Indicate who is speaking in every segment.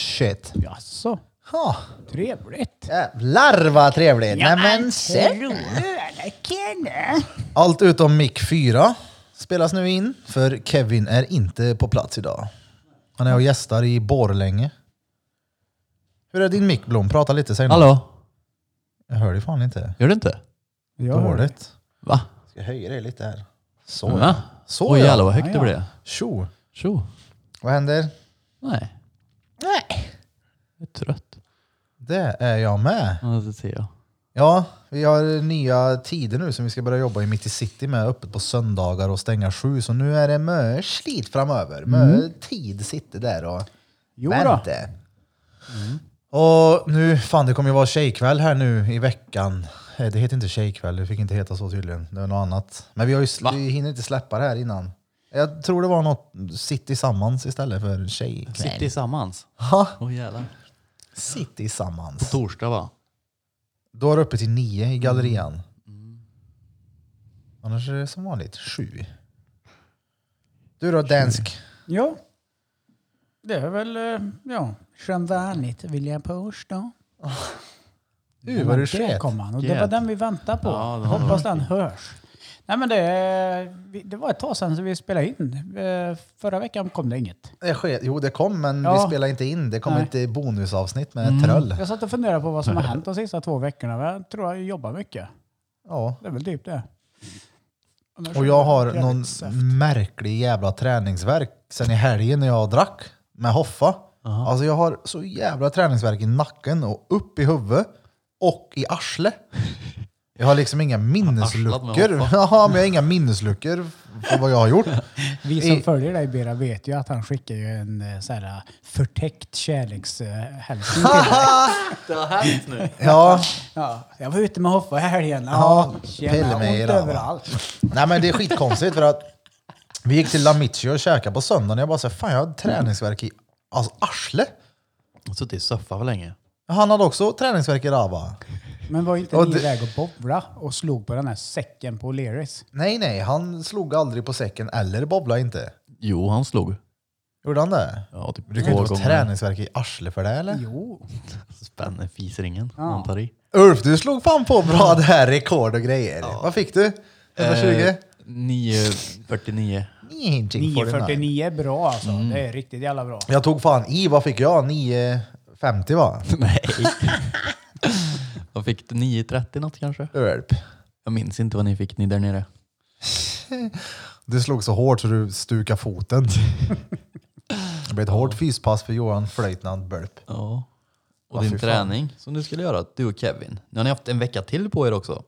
Speaker 1: Shit.
Speaker 2: Jaså,
Speaker 1: Ha,
Speaker 2: trevligt.
Speaker 1: jävlar vad trevligt. Nej men se. Allt utom mick 4 spelas nu in, för Kevin är inte på plats idag. Han är och gästar i Borlänge. Hur är din mick Blom? Prata lite, säg något.
Speaker 3: Hallå?
Speaker 1: Jag hör dig fan inte.
Speaker 3: Gör du inte?
Speaker 2: Jag hör dig.
Speaker 1: Dåligt.
Speaker 3: Va?
Speaker 1: Ska jag höja dig lite här? Så
Speaker 3: Va?
Speaker 1: ja. Så
Speaker 3: Oj
Speaker 1: ja.
Speaker 3: jävlar vad högt
Speaker 2: Ja,
Speaker 3: det
Speaker 2: ja.
Speaker 3: blev.
Speaker 1: Tjo.
Speaker 3: Tjo.
Speaker 1: Vad händer?
Speaker 3: Nej,
Speaker 1: Nej.
Speaker 3: jag är trött.
Speaker 1: Det är jag med.
Speaker 3: Ja, det ser jag.
Speaker 1: Ja, vi har nya tider nu som vi ska börja jobba i mitt i city med, öppet på söndagar och stänga sju. Så nu är det mycket slit framöver. Mycket tid sitter där och
Speaker 2: Mm. Jo då. Mm.
Speaker 1: väntar. Och nu, fan det kommer ju vara tjejkväll här nu i veckan. Eh, Det heter inte tjejkväll, det fick inte heta så tydligen. Det var något annat. Men vi, har ju, sl- vi hinner inte släppa det här innan. Jag tror det var något sitt tillsammans istället för tjejkväll.
Speaker 3: Sitt tillsammans.
Speaker 1: Ha,
Speaker 3: Åh jävlar.
Speaker 1: sitt tillsammans.
Speaker 3: Torsdag va?
Speaker 1: Då är det uppe till nio i gallerian.
Speaker 2: Mm.
Speaker 1: Annars är det som vanligt sju. Du då, dansk?
Speaker 2: Ja. Det är väl, eh, ja, som vanligt vill jag påstå.
Speaker 1: Du, vad du
Speaker 2: det
Speaker 1: sket.
Speaker 2: kom han och det
Speaker 3: Sket.
Speaker 2: var den vi väntade på.
Speaker 3: Ja, det var
Speaker 2: Hoppas den hörs. Nej men det, är- vi- det var ett tag sedan som vi spelade in. Eh, Förra veckan kom det inget.
Speaker 1: Det sket. Jo, det kom, men
Speaker 2: Ja.
Speaker 1: vi spelade inte in. Det kom
Speaker 2: Nej. Mm.
Speaker 1: ett bonusavsnitt med Tröll.
Speaker 2: Jag satt och funderade på vad som har hänt de sista två veckorna. men Jag tror jag jobbar mycket.
Speaker 1: Ja.
Speaker 2: Det är väl typ det. Annars-
Speaker 1: Och jag har
Speaker 2: Jävligt
Speaker 1: någon
Speaker 2: söt.
Speaker 1: märklig jävla träningsverk sen i helgen när jag drack med Hoffa. Alltså jag har så jävla träningsverk i nacken och upp i huvudet och i arslet. Jag har liksom inga
Speaker 3: Arslat med
Speaker 1: minnesluckor. Ja, men jag har inga minnesluckor för vad jag har gjort.
Speaker 2: Vi som
Speaker 1: I-
Speaker 2: följer dig Bera vet ju att han skickar ju en eh, så här, förtäckt kärlekshälsning till dig.
Speaker 3: Det har hänt nu.
Speaker 1: Ja,
Speaker 2: Ja, jag var ute med Hoffa i helgen.
Speaker 1: Ja,
Speaker 2: Ja,
Speaker 1: pille
Speaker 2: tjena,
Speaker 1: mig i
Speaker 2: ont
Speaker 1: det här, va?
Speaker 2: överallt.
Speaker 1: Nej men det är skitkonstigt för att vi gick till Lamitio och käkade på söndagen och jag bara såhär, fan jag har träningsvärk i alltså, arsle.
Speaker 3: Jag har suttit i soffan för länge.
Speaker 1: Han hade också träningsvärk i rava.
Speaker 2: Men var inte
Speaker 1: Och
Speaker 2: ni
Speaker 1: det-
Speaker 2: iväg och bowla och slog på den här säcken på O'Learys?
Speaker 1: Nej nej, han slog aldrig på säcken eller bobblade inte.
Speaker 3: Jo, han slog.
Speaker 1: Gjorde han det?
Speaker 3: Ja, typ
Speaker 1: Du kan ju
Speaker 3: två
Speaker 1: inte få
Speaker 3: gånger.
Speaker 1: träningsvärk i arsle för det eller?
Speaker 2: Jo.
Speaker 3: Spänner fisringen när han tar i.
Speaker 1: Ulf, du slog fan på bra det här rekord och grejer. Vad fick du?
Speaker 3: Eh,
Speaker 1: 120?
Speaker 3: 9.49.
Speaker 1: Ingenting får den här. Mm.
Speaker 2: 9.49 är bra alltså. Det är riktigt jävla bra.
Speaker 1: Jag tog fan i, vad fick jag? 9.50 va?
Speaker 3: Nej. Vad fick du? 9.30 något kanske?
Speaker 1: Ulf.
Speaker 3: Jag minns inte vad ni fick ni där nere.
Speaker 1: Du slog så hårt så du stukade foten. Det blev ett hårt fyspass för Johan Flöjtnant Bölp.
Speaker 3: Ja. Och
Speaker 1: Ja, fy
Speaker 3: din
Speaker 1: fan.
Speaker 3: träning som du skulle göra, du och Kevin. Nu har ni haft en vecka till på er också.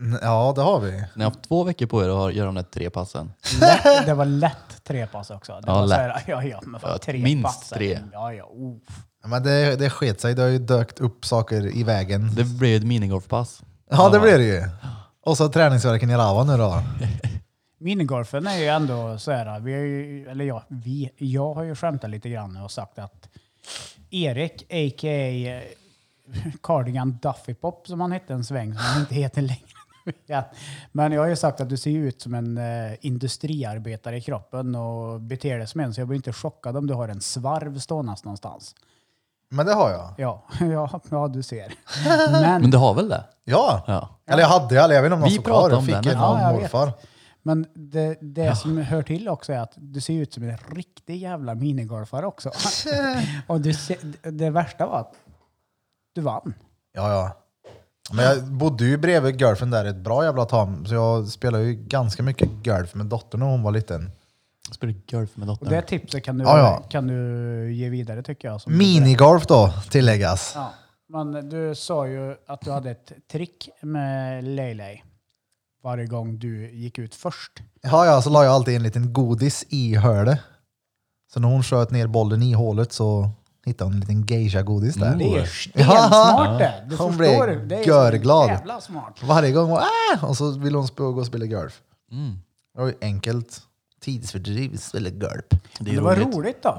Speaker 1: N- Ja, det har vi.
Speaker 3: Ni har haft två veckor på er att göra de där tre passen.
Speaker 2: Lätt, det var lätt trepass också. Det
Speaker 3: Ja,
Speaker 2: var så här, ja, ja, men fan,
Speaker 3: Ja,
Speaker 2: tre
Speaker 3: minst
Speaker 2: pass.
Speaker 3: tre.
Speaker 2: Ja, ja, oh.
Speaker 1: Men det, det sket sig. Det har ju dökt upp saker i vägen.
Speaker 3: Det blev ett minigolfpass.
Speaker 1: Ja, det blir det ju. Och så träningsvärken i Rava nu då.
Speaker 2: Minigolfen är ju ändå så här, vi har ju, eller ja, vi, jag har ju skämtat lite grann och sagt att Erik, a.k.a. eh, Cardigan Duffy Pop som han hette en sväng, som han inte heter längre. Ja. Men jag har ju sagt att du ser ju ut som en eh, industriarbetare i kroppen och beter dig som en, så jag blir inte chockad om du har en svarv ståendes någonstans.
Speaker 1: Men det har jag.
Speaker 2: Ja, ja, ja du ser. Men
Speaker 3: Men du har väl det?
Speaker 1: Ja.
Speaker 3: Ja.
Speaker 1: Eller jag hade det. Eller jag vet inte om någon
Speaker 3: Vi
Speaker 1: stod
Speaker 3: pratade
Speaker 1: kvar. Jag
Speaker 3: om
Speaker 1: fick
Speaker 3: den.
Speaker 1: en
Speaker 2: Ja,
Speaker 1: av
Speaker 2: jag vet.
Speaker 1: morfar.
Speaker 2: Men det, det som hör till också är att du ser ut som en riktig jävla minigolfare också. och du, ser- det värsta var att du vann.
Speaker 1: Ja, ja. Men jag bodde ju bredvid golfen där ett bra jävla tag. Så jag spelade ju ganska mycket golf med dottern när hon var liten.
Speaker 3: Jag spelade golf med
Speaker 2: Och det
Speaker 3: dottern.
Speaker 2: tipset kan du,
Speaker 1: Ja, ja.
Speaker 2: kan du ge vidare tycker jag. som-
Speaker 1: Minigolf då, tilläggas.
Speaker 2: Ja. Men du sa ju att du hade ett trick med Leylay varje gång du gick ut först.
Speaker 1: Ja, ja, så la jag alltid en liten godis i hörde. Så när hon sköt ner bollen i hålet så hittade hon en liten geisha-godis där.
Speaker 2: Mm. Det är
Speaker 1: Ja.
Speaker 2: stensmart det! Du
Speaker 1: Hon
Speaker 2: förstår
Speaker 1: blev
Speaker 2: du? Det är
Speaker 1: görglad.
Speaker 2: så jävla smart.
Speaker 1: Varje gång var ah! Och så ville hon sp- gå och spela golf.
Speaker 3: Mm.
Speaker 1: Det var ju enkelt. Tidsfördriv, spela golf.
Speaker 3: Det
Speaker 2: Det,
Speaker 3: är
Speaker 2: var
Speaker 3: roligt.
Speaker 2: roligt då.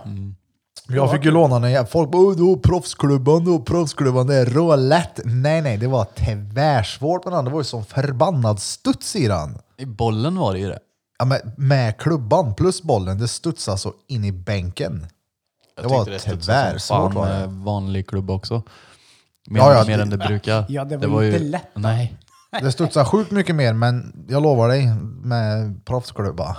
Speaker 1: Jag fick ju låna den. igen. Folk bara "Åh, du har proffsklubban, du har proffsklubban, det är rålätt. Nej, nej, det var tvärsvårt med den. Det var ju som förbannad studs i den.
Speaker 3: I bollen var det ju det.
Speaker 1: Ja, men med klubban plus bollen, det studsade så in i bänken. Det var
Speaker 4: tyckte stod som
Speaker 1: tvärsvårt
Speaker 3: Fan,
Speaker 1: var
Speaker 3: eh,
Speaker 1: det.
Speaker 3: vanlig klubba också. Mer,
Speaker 1: Ja, ja,
Speaker 3: mer
Speaker 1: det-
Speaker 3: än det brukar.
Speaker 2: Ja, det var inte lätt.
Speaker 3: Nej.
Speaker 1: Det studsade sjukt mycket mer, men jag lovar dig med proffsklubba.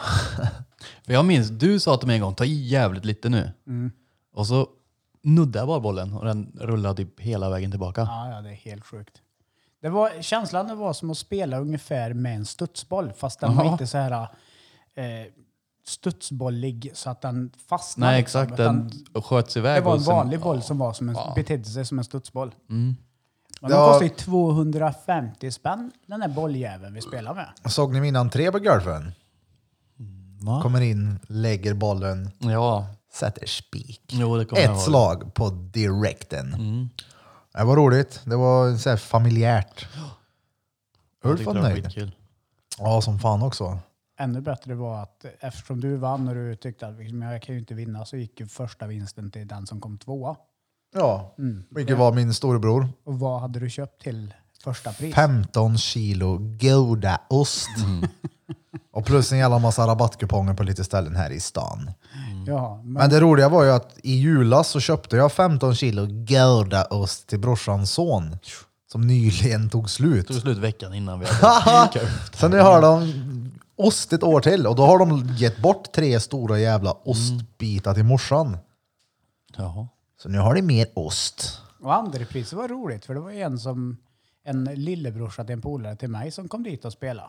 Speaker 3: För jag minns, du sa till mig en gång, ta i jävligt lite nu.
Speaker 2: Mm.
Speaker 3: Och så nuddade jag bara bollen och den rullade typ hela vägen tillbaka.
Speaker 2: Ja, ja, det är helt sjukt. Det var, känslan det var som att spela ungefär med en studsboll, fast den var
Speaker 3: Ja.
Speaker 2: inte så här eh, studsbollig så att den fastnade.
Speaker 3: Nej
Speaker 2: liksom,
Speaker 3: exakt,
Speaker 2: utan
Speaker 3: den sköts iväg.
Speaker 2: det var
Speaker 3: och
Speaker 2: en
Speaker 3: sen-
Speaker 2: vanlig boll
Speaker 3: Ja.
Speaker 2: som var som en,
Speaker 3: Ja.
Speaker 2: betedde sig som en studsboll.
Speaker 3: Mm.
Speaker 2: Men
Speaker 1: Det
Speaker 2: den
Speaker 1: var-
Speaker 2: kostade ju 250 spänn, den där bolljäveln vi spelar med.
Speaker 1: Såg ni min entré på golfen?
Speaker 3: Va?
Speaker 1: Kommer in, lägger bollen,
Speaker 3: Ja,
Speaker 1: sätter spik.
Speaker 3: jo det kommer
Speaker 1: Ett
Speaker 3: jag ihåg. Mm.
Speaker 1: slag på direkten. Det var roligt. Det var så här familjärt.
Speaker 3: Jag
Speaker 1: Ulf
Speaker 3: tyckte
Speaker 1: var
Speaker 3: det var
Speaker 1: nöjd.
Speaker 3: skitkul.
Speaker 1: Ja, som fan också.
Speaker 2: Ännu bättre var att eftersom du vann och du tyckte att liksom, jag kan ju inte vinna så gick ju första vinsten till den som kom tvåa.
Speaker 1: Ja, vilket Mm. var min storebror.
Speaker 2: Och vad hade du köpt till första pris?
Speaker 1: 15 kilo goda ost.
Speaker 3: Mm.
Speaker 1: Och plus en jävla massa rabattkuponger på lite ställen här i stan.
Speaker 2: Ja, men,
Speaker 1: Men det roliga var ju att i julas så köpte jag 15 kilo goda ost till brorsans son. Som nyligen tog slut.
Speaker 3: Tog slut veckan innan vi hade
Speaker 1: Så nu har de ost ett år till och då har de gett bort tre stora jävla ostbitar till morsan.
Speaker 3: Jaha.
Speaker 1: Så nu har de mer ost.
Speaker 2: Och andra priset var roligt för det var ju en som en lillebrorsa till en polare till mig som kom dit och spelade.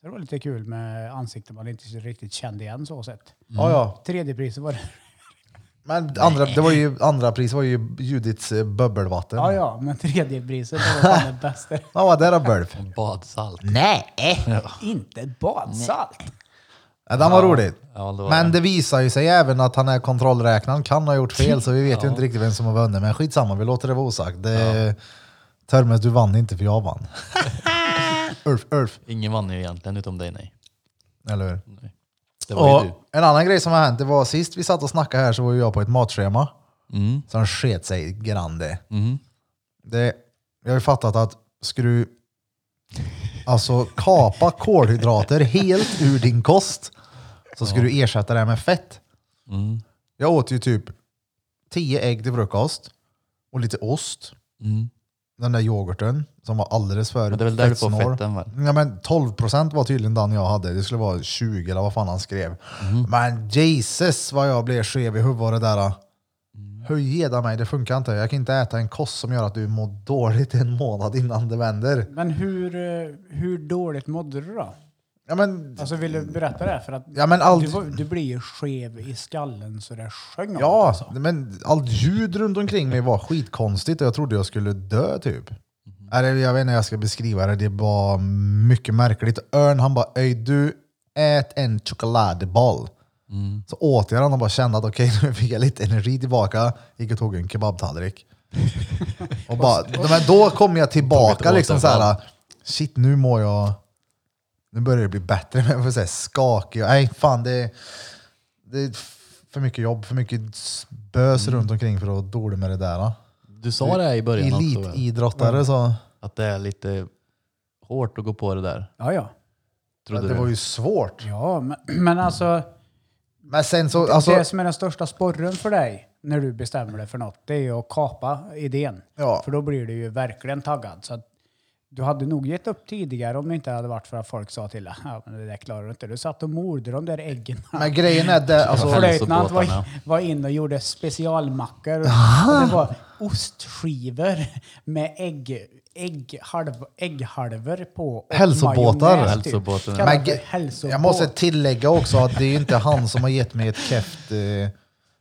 Speaker 2: Så det var lite kul med ansikten man inte riktigt kände igen så sett.
Speaker 1: Ja, ja.
Speaker 2: Tredje priset var det.
Speaker 1: Men andra, det var ju, andra pris var ju Judits eh, bubbelvatten.
Speaker 2: Ja, ja, men tredje priset det var fan det bästa.
Speaker 1: Ja, vad där har bölf.
Speaker 3: Badsalt.
Speaker 1: Nej!
Speaker 2: Inte badsalt.
Speaker 1: Ja, den var roligt.
Speaker 3: Ja, det var
Speaker 1: Men det visar ju sig även att han är kontrollräknaren kan ha gjort fel så vi vet ju inte riktigt vem som har vunnit. Men skitsamma, vi låter det vara osagt. Det, Törmes, du vann inte för jag vann. Ulf, Ulf.
Speaker 3: Ingen vann ju egentligen utom dig, nej.
Speaker 1: Eller hur?
Speaker 3: nej. Det var ju
Speaker 1: Och en annan grej som har hänt, det var sist vi satt och snackade här så var ju jag på ett matschema
Speaker 3: du. Mm.
Speaker 1: som sket sig grande.
Speaker 3: Mm.
Speaker 1: Det, jag har ju fattat att ska du alltså kapa kolhydrater helt ur din kost så ska du ersätta det här med fett.
Speaker 3: Mm.
Speaker 1: Jag åt ju typ 10 ägg till frukost och lite ost.
Speaker 3: Mm.
Speaker 1: Den där yoghurten som var alldeles för
Speaker 3: Men det är väl där du får
Speaker 1: fettsnål.
Speaker 3: fetten, väl?
Speaker 1: Ja, men 12 procent var tydligen den jag hade. Det skulle vara 20 eller vad fan han skrev.
Speaker 2: Mhm.
Speaker 1: Men Jesus vad jag blev skev i huvudet av det där. då.
Speaker 2: Mm.
Speaker 1: Höjeda mig, det funkar inte. Jag kan inte äta en kost som gör att du mår dåligt en månad innan det vänder.
Speaker 2: Men hur, eh, hur dåligt mådde du då?
Speaker 1: Ja, men,
Speaker 2: Alltså vill du berätta det? här? För att
Speaker 1: ja, men allt...
Speaker 2: du, var, du blir ju skev i skallen så det sjöng om det,
Speaker 1: Ja,
Speaker 2: alltså.
Speaker 1: men allt ljud runt omkring mig var skitkonstigt och jag trodde jag skulle dö typ.
Speaker 2: Mhm.
Speaker 1: Eller, jag vet inte hur jag ska beskriva det, det var mycket märkligt. Örn han bara Öj du, ät en chokladboll. Så åt jag den och bara kände att okej nu fick jag lite energi tillbaka. Gick och tog en kebabtallrik. och bara, men då kom jag
Speaker 3: Tog
Speaker 1: tillbaka
Speaker 3: ett
Speaker 1: liksom så
Speaker 3: återfall.
Speaker 1: här. shit nu mår jag, nu börjar det bli bättre. Men jag får säga skakig, nej fan det det är f- för mycket jobb, för mycket s- bös runt omkring för att dålig med det där. då.
Speaker 3: Du sa det här i början också, väl?
Speaker 1: Elitidrottare så.
Speaker 3: att det är lite hårt att gå på det där.
Speaker 2: Ja, ja.
Speaker 3: Trodde
Speaker 1: det
Speaker 3: du?
Speaker 1: var ju svårt.
Speaker 2: Ja, men, men alltså.
Speaker 1: Men sen så, alltså,
Speaker 2: det som är den största sporren för dig när du bestämmer dig för något, det är ju att kapa idén.
Speaker 1: Ja.
Speaker 2: För då blir du ju verkligen taggad. Så att du hade nog gett upp tidigare om det inte hade varit för att folk sa till dig, ja, men det där klarar du inte. Du satt och morde de där äggen.
Speaker 1: men grejen är det, alltså,
Speaker 3: Hälsobåtarna.
Speaker 2: Flöjtnant var, var inne och gjorde specialmackor. Och det var ostskivor med ägg, ägg, halv, ägghalvor på. och
Speaker 1: Hälsobåtar.
Speaker 2: majonnäs, typ.
Speaker 3: Hälsobåten, ja.
Speaker 2: Kallat
Speaker 1: Men
Speaker 2: för
Speaker 1: ge-
Speaker 2: hälsobåt.
Speaker 1: jag måste tillägga också att det är ju inte han som har gett mig ett käft eh,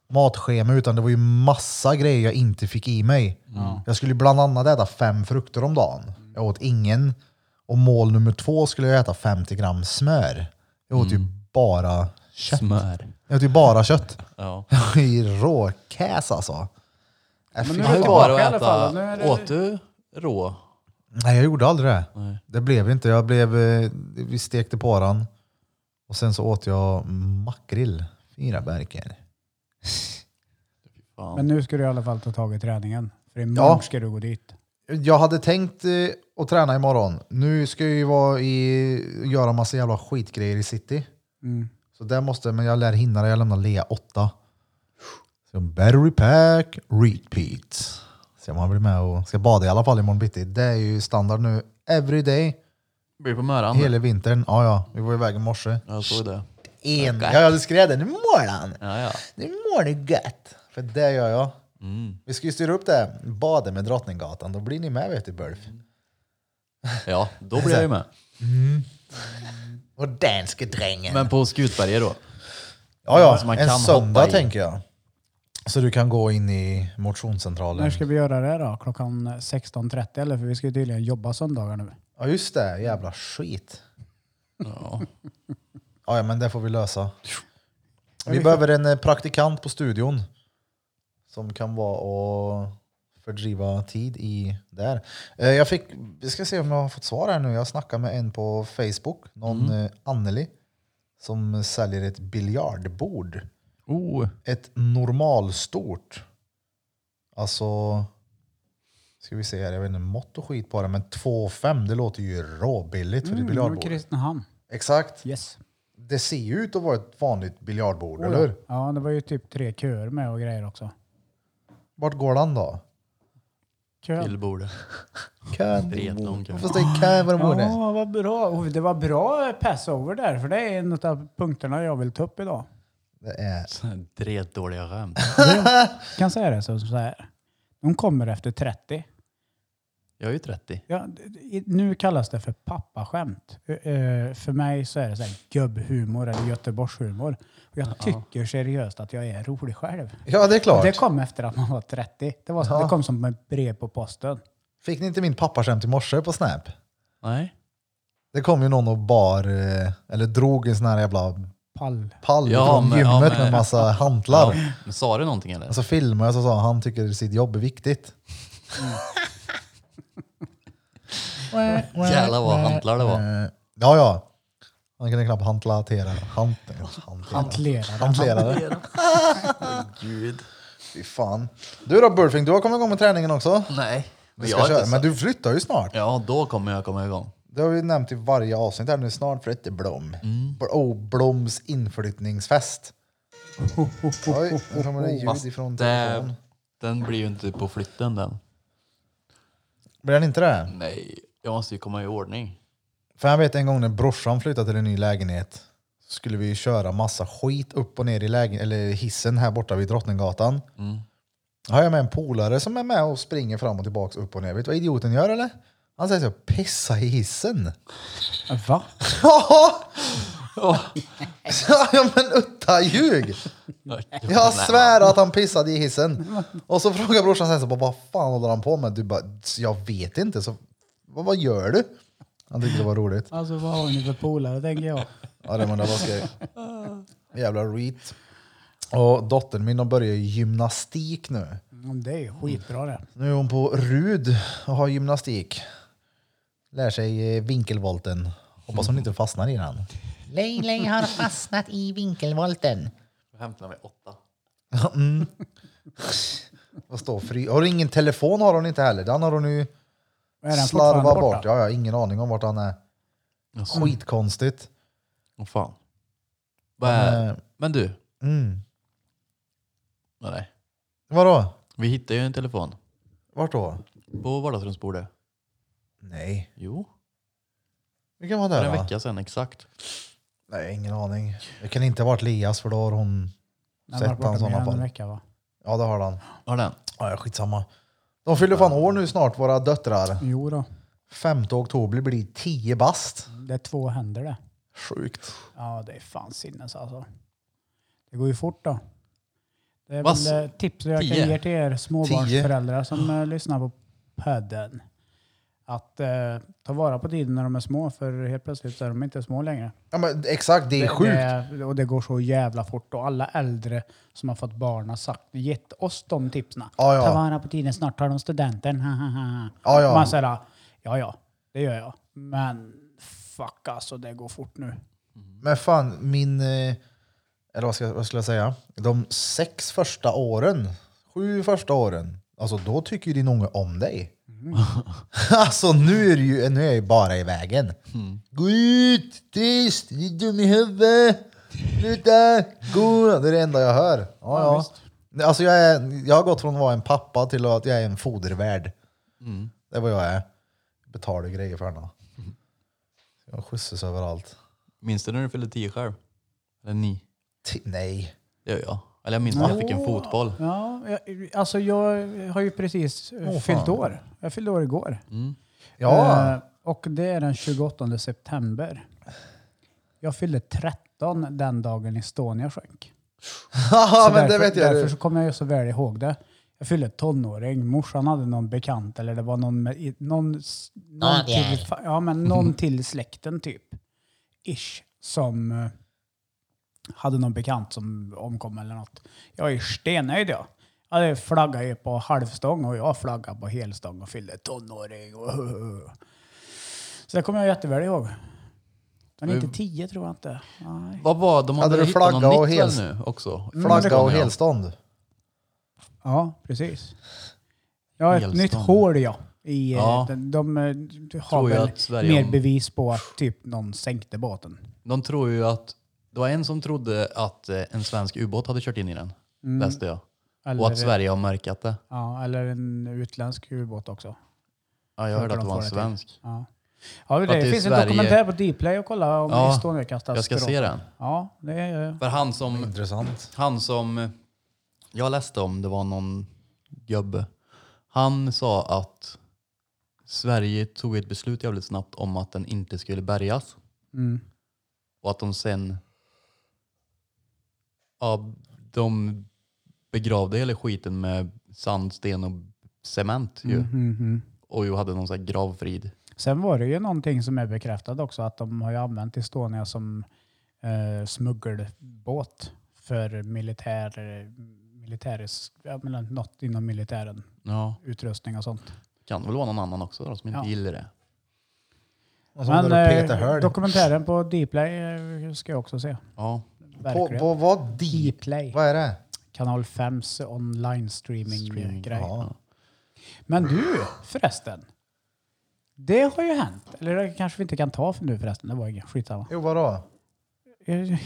Speaker 1: matschema utan det var ju massa grejer jag inte fick i mig. Jag skulle ju bland annat äta fem frukter om dagen. Jag åt ingen. Och mål nummer två skulle jag äta 50 gram smör. Jag åt
Speaker 2: Mm.
Speaker 1: ju bara kött.
Speaker 3: Smör.
Speaker 1: Jag åt ju bara kött.
Speaker 3: Ja.
Speaker 1: Jag är ju råkäs alltså. Äh,
Speaker 2: Men
Speaker 1: fy
Speaker 2: nu
Speaker 1: fan.
Speaker 2: är
Speaker 3: Hur
Speaker 2: det
Speaker 3: var det
Speaker 2: tillbaka i alla
Speaker 3: att
Speaker 2: fall. Nu är
Speaker 3: äta?
Speaker 2: det-
Speaker 3: Åt du rå?
Speaker 1: Nej, jag gjorde aldrig det.
Speaker 3: Nej.
Speaker 1: Det blev inte. Jag blev, eh, vi stekte på den och sen så åt jag makrill. Fyra bärkar.
Speaker 3: Fan.
Speaker 2: Men nu ska du i alla fall ta tag i träningen. För imorgon
Speaker 1: Ja.
Speaker 2: ska du gå dit.
Speaker 1: Jag hade tänkt eh, att träna imorgon. Nu ska jag ju vara i, göra massa jävla skitgrejer i city.
Speaker 2: Mm.
Speaker 1: Så där måste, men jag lär hinna det. Jag lämnar Lea åtta. Så battery pack, repeat. Se om han blir med och ska bada i alla fall imorgon bitti. Det är ju standard nu. Every day,
Speaker 3: Blir på Möran.
Speaker 1: hela vintern. Ja, ja. Vi var iväg i morse.
Speaker 3: Jag såg det.
Speaker 1: En. Ja, ja, du skrev det. Nu mår han.
Speaker 3: Ja, ja.
Speaker 1: Nu mår du gött. För det gör jag.
Speaker 3: Mm.
Speaker 1: Vi ska ju styra upp det. Badet med Drottninggatan. Då blir ni med vet du, Bulf.
Speaker 3: ja, då blir jag ju med.
Speaker 1: Och danske drängen.
Speaker 3: Men på Skutberget då?
Speaker 1: ja,
Speaker 3: som
Speaker 1: ja.
Speaker 3: man
Speaker 1: En
Speaker 3: kan
Speaker 1: söndag
Speaker 3: hoppa i.
Speaker 1: tänker jag. Så du kan gå in i
Speaker 2: När
Speaker 1: motionscentralen.
Speaker 2: ska vi göra det då? Klockan 16.30 eller? För vi ska ju tydligen jobba söndagar nu.
Speaker 1: Ja, just det. Jävla skit.
Speaker 3: Ja.
Speaker 1: Ja, ja, men det får vi lösa. Vi behöver en eh, praktikant på studion som kan vara och fördriva tid i där. Eh, Jag fick, vi ska se om jag har fått svar här nu. Jag snackade med en på Facebook, någon mm. Anneli, som säljer ett biljardbord.
Speaker 3: Oh.
Speaker 1: Ett normalstort. Alltså, ska vi se här, jag vet inte, mått och skit på det, men 2,5 det låter ju råbilligt för ett biljardbord.
Speaker 2: Kristinehamn.
Speaker 1: Exakt.
Speaker 2: Yes.
Speaker 1: Det ser ju ut att vara ett vanligt biljardbord,
Speaker 2: Oh,
Speaker 1: eller
Speaker 2: ja.
Speaker 1: hur?
Speaker 2: ja, det var ju typ tre köer med och grejer också.
Speaker 1: Vart går den då?
Speaker 2: Kö.
Speaker 3: Till bordet.
Speaker 1: Kön.
Speaker 3: Vet någon
Speaker 1: Varför
Speaker 3: kanske.
Speaker 1: säger kön vad det borde?
Speaker 2: Ja, vad bra. Oh, Det var bra passover där, för det är en av punkterna jag vill ta upp idag.
Speaker 1: Det är...
Speaker 3: Såna här Dretdåliga skämt.
Speaker 2: Jag kan säga det så, så här. De kommer efter 30.
Speaker 3: Jag är ju 30.
Speaker 2: Ja, d- d- nu kallas det för pappaskämt. Ö- ö, För mig så är det så här gubbhumor eller göteborgshumor. Och Jag tycker seriöst att jag är rolig själv.
Speaker 1: Ja, det är klart.
Speaker 2: Det kom efter att man var 30. Det, var,
Speaker 1: Ja.
Speaker 2: det kom som ett brev på posten.
Speaker 1: Fick ni inte min pappaskämt i morse på Snap?
Speaker 3: Nej.
Speaker 1: Det kom ju någon och bar, eh, eller drog en sån här jävla
Speaker 2: Pall.
Speaker 1: pall
Speaker 3: Ja,
Speaker 1: från
Speaker 3: men-
Speaker 1: gymmet
Speaker 3: ja, men-
Speaker 1: med en massa
Speaker 3: Ja.
Speaker 1: hantlar.
Speaker 3: Men sa du någonting eller?
Speaker 1: Och så filmade jag och så sa han, han tycker sitt jobb är viktigt.
Speaker 3: Mm. Jävlar vad hantlar det var.
Speaker 1: Eh, Ja, ja. Han kunde knappt hantlatera. Hant, hantlatera.
Speaker 2: Hantlerare.
Speaker 1: Hantlerare.
Speaker 3: Gud.
Speaker 1: Fy fan. Du då Burfing, du har kommit igång med träningen också.
Speaker 3: Nej.
Speaker 1: Vi
Speaker 3: Men,
Speaker 1: ska
Speaker 3: jag Mm. är
Speaker 1: köra.
Speaker 3: inte så...
Speaker 1: Men du flyttar ju snart.
Speaker 3: Ja, då kommer jag komma igång.
Speaker 1: Det har vi nämnt i varje avsnitt här nu. Snart för ett Blom.
Speaker 3: Mm.
Speaker 1: Bl- Oh, Bloms inflyttningsfest. Oj, nu kommer det ljud
Speaker 3: Fast
Speaker 1: ifrån telefonen.
Speaker 3: det, den blir ju inte på flytten den.
Speaker 1: Blir den inte det?
Speaker 3: Nej, jag måste ju komma i ordning.
Speaker 1: För jag vet en gång när brorsan flyttade till en ny lägenhet så skulle vi köra massa skit upp och ner i lägen, eller hissen här borta vid Drottninggatan.
Speaker 3: Mm.
Speaker 1: Då har jag med en polare som är med och springer fram och tillbaka upp och ner. Vet du vad idioten gör eller? Han säger så pissa i hissen.
Speaker 2: Va?
Speaker 1: Ja, ja men utta ljug! Jag svär att han pissade i hissen. Och så frågar brorsan sen så bara, vad fan håller han på med? Du bara, jag vet inte. Så, vad, vad gör du? Han tyckte det var roligt.
Speaker 2: Alltså vad har ni för polare tänker jag.
Speaker 1: Ja, det undrar vad ska jag... Jävla reet. Och dottern min har börjat i gymnastik nu.
Speaker 2: Mm, Det är ju skitbra det.
Speaker 1: Nu är hon på RUD och har gymnastik. Lär sig eh, vinkelvolten. Hoppas hon inte fastnar i den.
Speaker 4: Leilei har fastnat i vinkelvolten.
Speaker 3: Jag hämtar mig åtta.
Speaker 1: Mm. Vad står fri? Har hon ingen telefon har hon inte heller. Den har hon ju
Speaker 2: Är den fortfarande
Speaker 1: slarvat
Speaker 2: borta? Mm.
Speaker 1: bort. Ja, ja, ingen aning om vart han är.
Speaker 3: Jaså.
Speaker 1: Skitkonstigt.
Speaker 3: Åh fan. Vad är-
Speaker 1: Eh,
Speaker 3: Men du.
Speaker 1: Mm.
Speaker 3: Nej.
Speaker 1: Vadå?
Speaker 3: Vi hittade ju en telefon.
Speaker 1: Vart då?
Speaker 3: På vardagsrumsbordet.
Speaker 1: Nej.
Speaker 3: Jo.
Speaker 1: Vilken var det?
Speaker 3: För en
Speaker 1: då?
Speaker 3: vecka sedan exakt.
Speaker 1: Nej, ingen aning. Det kan inte ha varit Leas för då har hon...
Speaker 2: Den
Speaker 1: Sett
Speaker 2: har varit borta
Speaker 1: han såna
Speaker 2: mer än en
Speaker 1: fall.
Speaker 2: vecka va?
Speaker 1: Ja, det har han.
Speaker 3: Har den?
Speaker 1: Ja, ja, skitsamma. De fyller fan år nu snart, våra döttrar.
Speaker 2: Jo då.
Speaker 1: 5 oktober blir det 10 bast.
Speaker 2: Det är två händer det.
Speaker 1: Sjukt.
Speaker 2: Ja, det är fan sinnes alltså. Det går ju fort då. Det är
Speaker 3: Vass-
Speaker 2: väl eh, tips jag
Speaker 3: tio.
Speaker 2: kan ge till er småbarnsföräldrar som eh, lyssnar på podden. Att eh, ta vara på tiden när de är små, för helt plötsligt så är de inte små längre.
Speaker 1: Ja, men exakt, det är sjukt.
Speaker 2: Det, och det går så jävla fort. Och alla äldre som har fått barn har sagt, gett oss de tipsen.
Speaker 1: Ja, ja.
Speaker 2: Ta vara på tiden, snart tar de studenten. ha, ha, ha.
Speaker 1: Ja, ja.
Speaker 2: Man säger, ja ja, det gör jag. Men fuck alltså, det går fort nu.
Speaker 1: Men fan, min... eh, Eller vad, ska, vad skulle jag säga? De sex första åren, sju första åren, alltså då tycker ju din unge om dig. alltså nu är, det ju, nu är jag ju bara i vägen. Gå ut, tyst, du är dum i huvudet. Sluta, gå. Det är det enda jag hör. Ja, ja.
Speaker 2: visst.
Speaker 1: Alltså jag, är, jag har gått från att vara en pappa till att jag är en fodervärd. Det är vad jag är. Betalar grejer för henne. Jag skjutsas överallt.
Speaker 3: Minns du när du fyllde tio själv? Eller nio?
Speaker 1: Ti- nej.
Speaker 3: Det gör jag. Eller jag minns när jag fick en fotboll.
Speaker 2: Ja, jag, alltså jag har ju precis eh,
Speaker 1: Åh, fan.
Speaker 2: fyllt år. Jag fyllde år igår.
Speaker 1: Ja,
Speaker 2: Eh, och det är den 28 september. Jag fyllde 13 den dagen Estonia sjönk.
Speaker 1: ja men
Speaker 2: Så
Speaker 1: det
Speaker 2: därför,
Speaker 1: vet jag.
Speaker 2: Därför så kommer jag ju så väl ihåg det. Jag fyllde tonåring, morsan hade någon bekant eller det var någon, med- i- någon, s- någon,
Speaker 4: Någon jävel.
Speaker 2: till, fa- ja, men någon till släkten typ. Ish. Som eh, hade någon bekant som omkom eller något. Jag är stenöjd jag. Ja, det flaggade ju på halvstång och jag flaggade på helstång och fyllde tonåring. Och, Så det kommer jag jätteväl ihåg. Men inte tio tror jag inte. Nej.
Speaker 3: Vad var de
Speaker 1: Hade
Speaker 3: hade
Speaker 1: du
Speaker 3: hittat något
Speaker 1: flagga och
Speaker 3: nytt väl
Speaker 1: hels-
Speaker 3: nu också?
Speaker 1: Flagga och
Speaker 3: Ja.
Speaker 1: helstånd.
Speaker 2: Ja, precis. Ja, ett
Speaker 3: Helstånd.
Speaker 2: nytt hål ja. I, eh,
Speaker 3: Ja,
Speaker 2: de, de, eh, de har
Speaker 3: tror jag
Speaker 2: väl
Speaker 3: att Sverige
Speaker 2: mer
Speaker 3: om-
Speaker 2: bevis på att typ någon sänkte båten.
Speaker 3: De tror ju att... Det var en som trodde att eh, en svensk ubåt hade kört in i den. Läste jag.
Speaker 2: Eller, eh,
Speaker 3: Och att Sverige har märkat det.
Speaker 2: ja, eller en utländsk ubåt också.
Speaker 3: Ja, jag
Speaker 2: Så
Speaker 3: hörde
Speaker 2: kan
Speaker 3: att det
Speaker 2: de
Speaker 3: var en
Speaker 2: få det
Speaker 3: svensk.
Speaker 2: Ja. Ja, det,
Speaker 3: För att det är
Speaker 2: finns en
Speaker 3: Sverige-
Speaker 2: dokumentär på Dplay att kolla om
Speaker 3: Ja,
Speaker 2: Estonia-katastrofen.
Speaker 3: Jag ska se den.
Speaker 2: Ja, det är... eh,
Speaker 3: För han som,
Speaker 1: Intressant.
Speaker 3: han som jag läste om, det var någon gubbe. Han sa att Sverige tog ett beslut jävligt snabbt om att den inte skulle bärgas.
Speaker 2: Mm.
Speaker 3: Och att de sen ja, de begravde hela skiten med sand, sten och cement ju.
Speaker 2: Mm, mm.
Speaker 3: Och ju hade någon sån här gravfrid.
Speaker 2: Sen var det ju någonting som är bekräftat också, att de har ju använt Estonia som eh, smuggelbåt för militär, eh, militär jag menar, något inom militären,
Speaker 3: Ja.
Speaker 2: utrustning och sånt.
Speaker 3: Kan väl vara någon annan också då, som inte
Speaker 2: Ja.
Speaker 3: gillar det.
Speaker 1: Och så Men,
Speaker 2: eh,
Speaker 1: Peter Hörd.
Speaker 2: dokumentären på Dplay eh, ska jag också se.
Speaker 3: Ja.
Speaker 1: På,
Speaker 2: Verkligen.
Speaker 1: på vad? Di?
Speaker 2: Dplay,
Speaker 1: Vad är det?
Speaker 2: kanal 5s online streaming eh,
Speaker 3: Streaming,
Speaker 2: grej.
Speaker 1: Ja.
Speaker 2: Men du förresten, det har ju hänt. Eller det kanske vi inte kan ta för nu förresten, det var ingen skitsamma.
Speaker 1: Jo, vadå?
Speaker 2: Jag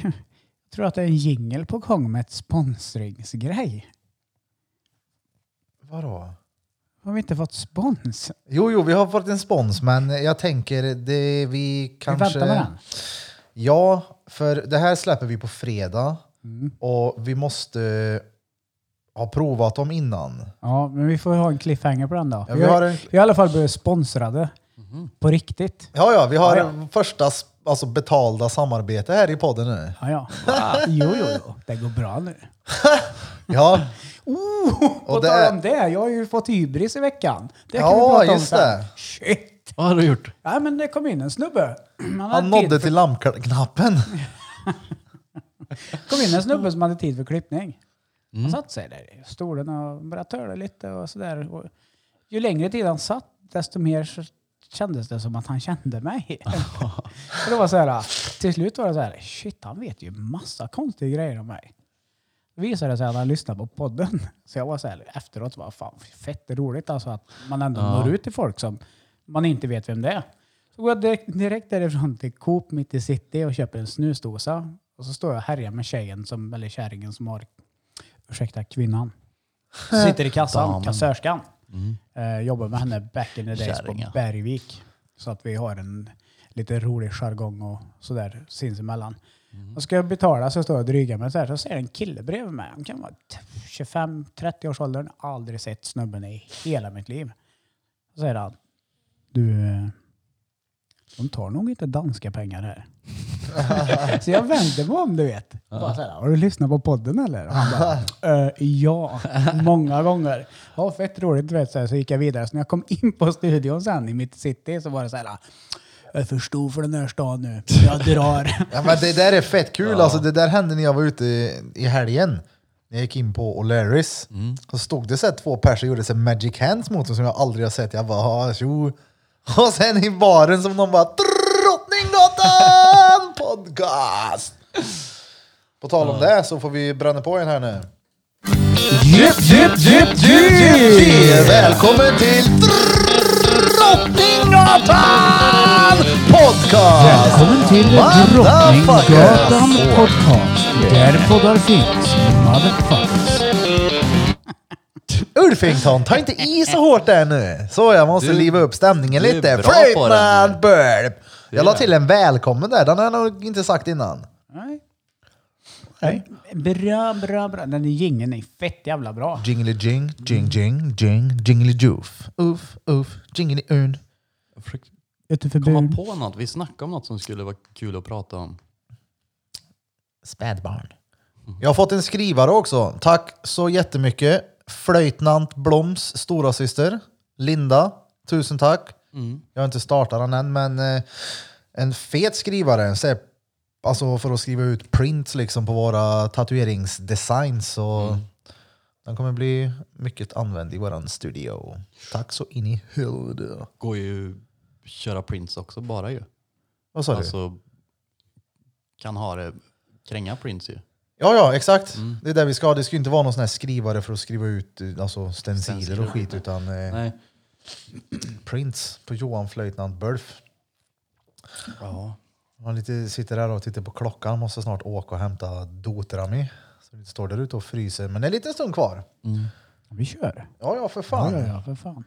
Speaker 2: tror att det är en jingel på gång med ett sponsringsgrej.
Speaker 1: Vadå?
Speaker 2: Har vi inte fått spons?
Speaker 1: Jo, jo, vi har fått en spons, men jag tänker det vi kanske...
Speaker 2: Vi väntar med den.
Speaker 1: Ja, för det här släpper vi på fredag Mm. och vi måste ha provat dem innan.
Speaker 2: Ja, men vi får ha en cliffhanger på den då.
Speaker 1: Ja,
Speaker 2: vi,
Speaker 1: vi
Speaker 2: har,
Speaker 1: har en- Mhm.
Speaker 2: vi har i alla fall blivit sponsrade. På riktigt.
Speaker 1: Ja, ja, vi har
Speaker 2: Ja,
Speaker 1: första s- alltså, betalda samarbete här i podden nu.
Speaker 2: Ja, ja. Jo, jo, jo. Det går bra nu.
Speaker 1: Ja,
Speaker 2: Oh, på
Speaker 1: Och det
Speaker 2: tal
Speaker 1: är-
Speaker 2: om det, jag har ju fått hybris i veckan. Det kan
Speaker 1: Ja,
Speaker 2: vi prata om
Speaker 1: just
Speaker 2: sen.
Speaker 1: det.
Speaker 2: Shit!
Speaker 3: Vad har du gjort?
Speaker 2: Nej, men det kom in en snubbe. Han,
Speaker 1: han nådde till lampknappen.
Speaker 2: kom in en snubbe som hade tid för klippning.
Speaker 1: Mm.
Speaker 2: Han satt sig där i stolen och började töla lite och sådär. Och ju längre tid han satt, desto mer så kändes det som att han kände mig. och det var så här, till slut var det så här, shit han vet ju massa konstiga grejer om mig. Det visade sig att han lyssnade på podden. Så jag var så här, efteråt, var fan fett roligt alltså att man ändå når ut till folk som man inte vet vem det är. Så går jag direkt, direkt därifrån till Coop mitt i city och köper en snusdosa. Och så står jag och härjar med tjejen, som, eller kärringen som har, ursäkta, kvinnan. Sitter i kassan,
Speaker 3: Damen.
Speaker 2: kassörskan. Eh, jobbar med henne back in the days
Speaker 3: Kärringar.
Speaker 2: på Bergvik. Så att vi har en lite rolig jargong och sådär sinsemellan. Och ska jag betala så står jag och drygar mig så här. Så ser jag en kille bredvid mig. Han kan vara 25-30 års åldern. Aldrig sett snubben i hela mitt liv. Så säger han. Du, eh, de tar nog inte danska pengar här. så jag vände mig om du vet. Bara så här, har du lyssnat på podden eller? Och han bara, "Eh, ja, många gånger. Ja, fett roligt. Du vet, så, här, så gick jag vidare. Så när jag kom in på studion sen i mitt city så var det så här. Jag är för stor för den här stan nu. Jag drar.
Speaker 1: Ja, men det där är fett kul. Alltså, det där hände när jag var ute i helgen. När jag gick in på O'Learys så stod det så här två personer gjorde så här magic hands mot mig som jag aldrig har sett. Jag bara "Ah, tjo. Och sen i baren som de bara Drottninggatan podcast. På tal om det så får vi bränna på en här nu. Välkommen till Drottninggatan podcast!
Speaker 2: Välkommen till
Speaker 1: Drottninggatan
Speaker 2: Podcast. Där poddar finns. Motherfuckers.
Speaker 1: Ulfington, ta inte i så hårt där nu. Så jag måste
Speaker 3: Du-
Speaker 1: liva upp stämningen
Speaker 3: du är
Speaker 1: lite.
Speaker 3: bra på den
Speaker 1: Freeman
Speaker 3: nu.
Speaker 1: burp!
Speaker 3: är
Speaker 1: Jag la
Speaker 3: det.
Speaker 1: till en välkommen där, den har jag nog inte sagt innan.
Speaker 2: Nej.
Speaker 1: Nej.
Speaker 2: Bra, bra, bra. Den jingeln är fett jävla bra.
Speaker 1: Jingly jing, jing jing, jing, jingly joof. Oof, oof, jingly urn.
Speaker 3: Jag försökte komma
Speaker 2: Utanför
Speaker 3: på något. Vi snackade om något som skulle vara kul att prata om.
Speaker 1: Spädbarn. Jag har fått en skrivare också. Tack så jättemycket. Flöjtnant Bloms stora syster Linda, tusen tack. Jag har inte startat den än, men eh, en fet skrivare. Så, här, alltså för att skriva ut prints liksom på våra tatueringsdesigns. Och Den kommer bli mycket använd i vår studio. Tack så in i huvudet.
Speaker 3: Går ju att köra prints också bara ju.
Speaker 1: Vad sa du?
Speaker 3: Alltså kan ha det, kränga prints ju.
Speaker 1: Ja, ja, exakt. Det är där vi ska. Det ska ju inte vara någon sån här skrivare för att skriva ut eh, alltså, stenciler och
Speaker 3: Stenciler.
Speaker 1: skit, utan eh,
Speaker 3: Nej.
Speaker 1: prints på Johan Flöjtnant Bulf.
Speaker 3: Ja.
Speaker 1: Han lite, sitter där och tittar på klockan, måste snart åka och hämta Dotrami. Så det står där ute och fryser, men det är en liten stund kvar.
Speaker 2: Vi kör.
Speaker 1: Ja, ja, för fan.
Speaker 2: Ja, ja, ja, för fan.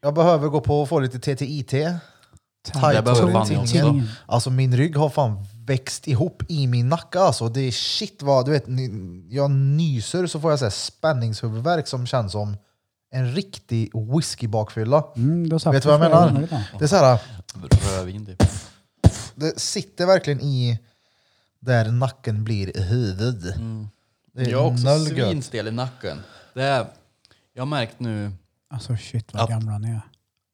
Speaker 1: Jag behöver gå på och få lite TTIT.
Speaker 3: Det behöver
Speaker 1: runt
Speaker 3: fan jag
Speaker 1: tidningen.
Speaker 2: också.
Speaker 1: Alltså min rygg har fan växt ihop i min nacke alltså. Det är shit vad, du vet, ny- jag nyser så får jag så här spänningshuvudvärk som känns som en riktig whiskybakfylla.
Speaker 2: Mm, då satt
Speaker 1: Vet du
Speaker 2: vi
Speaker 1: vad jag
Speaker 2: flera
Speaker 1: menar?
Speaker 2: gånger idag.
Speaker 1: Det är så här,
Speaker 3: Rödvin typ.
Speaker 1: det sitter verkligen i där nacken blir huvud. Det är
Speaker 3: Mm. Jag har också
Speaker 1: noll gött.
Speaker 3: svinstel i nacken. Det är, jag har märkt nu,
Speaker 2: Alltså shit vad
Speaker 3: Att-
Speaker 2: gamla ni är.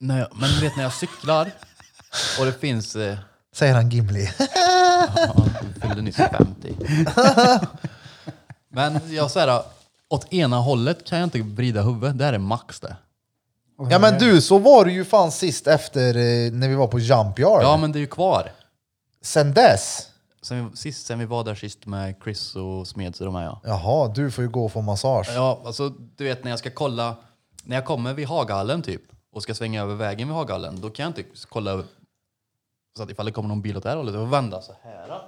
Speaker 3: när jag, men du vet när jag cyklar och det finns, eh,
Speaker 1: Säger han Gimli.
Speaker 3: ja, du fyllde nyss 50. Men jag säger åt ena hållet kan jag inte vrida huvudet, det här är max det.
Speaker 1: ja men du, så var du ju fan sist efter eh, när vi var på Jump Yard.
Speaker 3: Ja men det är ju kvar.
Speaker 1: Sen dess.
Speaker 3: Sen vi, sist, sen vi var där sist med Chris och Smeds och de här ja.
Speaker 1: Jaha, du får ju gå och få massage.
Speaker 3: Ja, alltså du vet när jag ska kolla, när jag kommer vid Hagahallen typ och ska svänga över vägen vid Hagahallen, då kan jag inte kolla över- så att ifall det kommer någon bil åt det här hållet, jag får vända så här. då.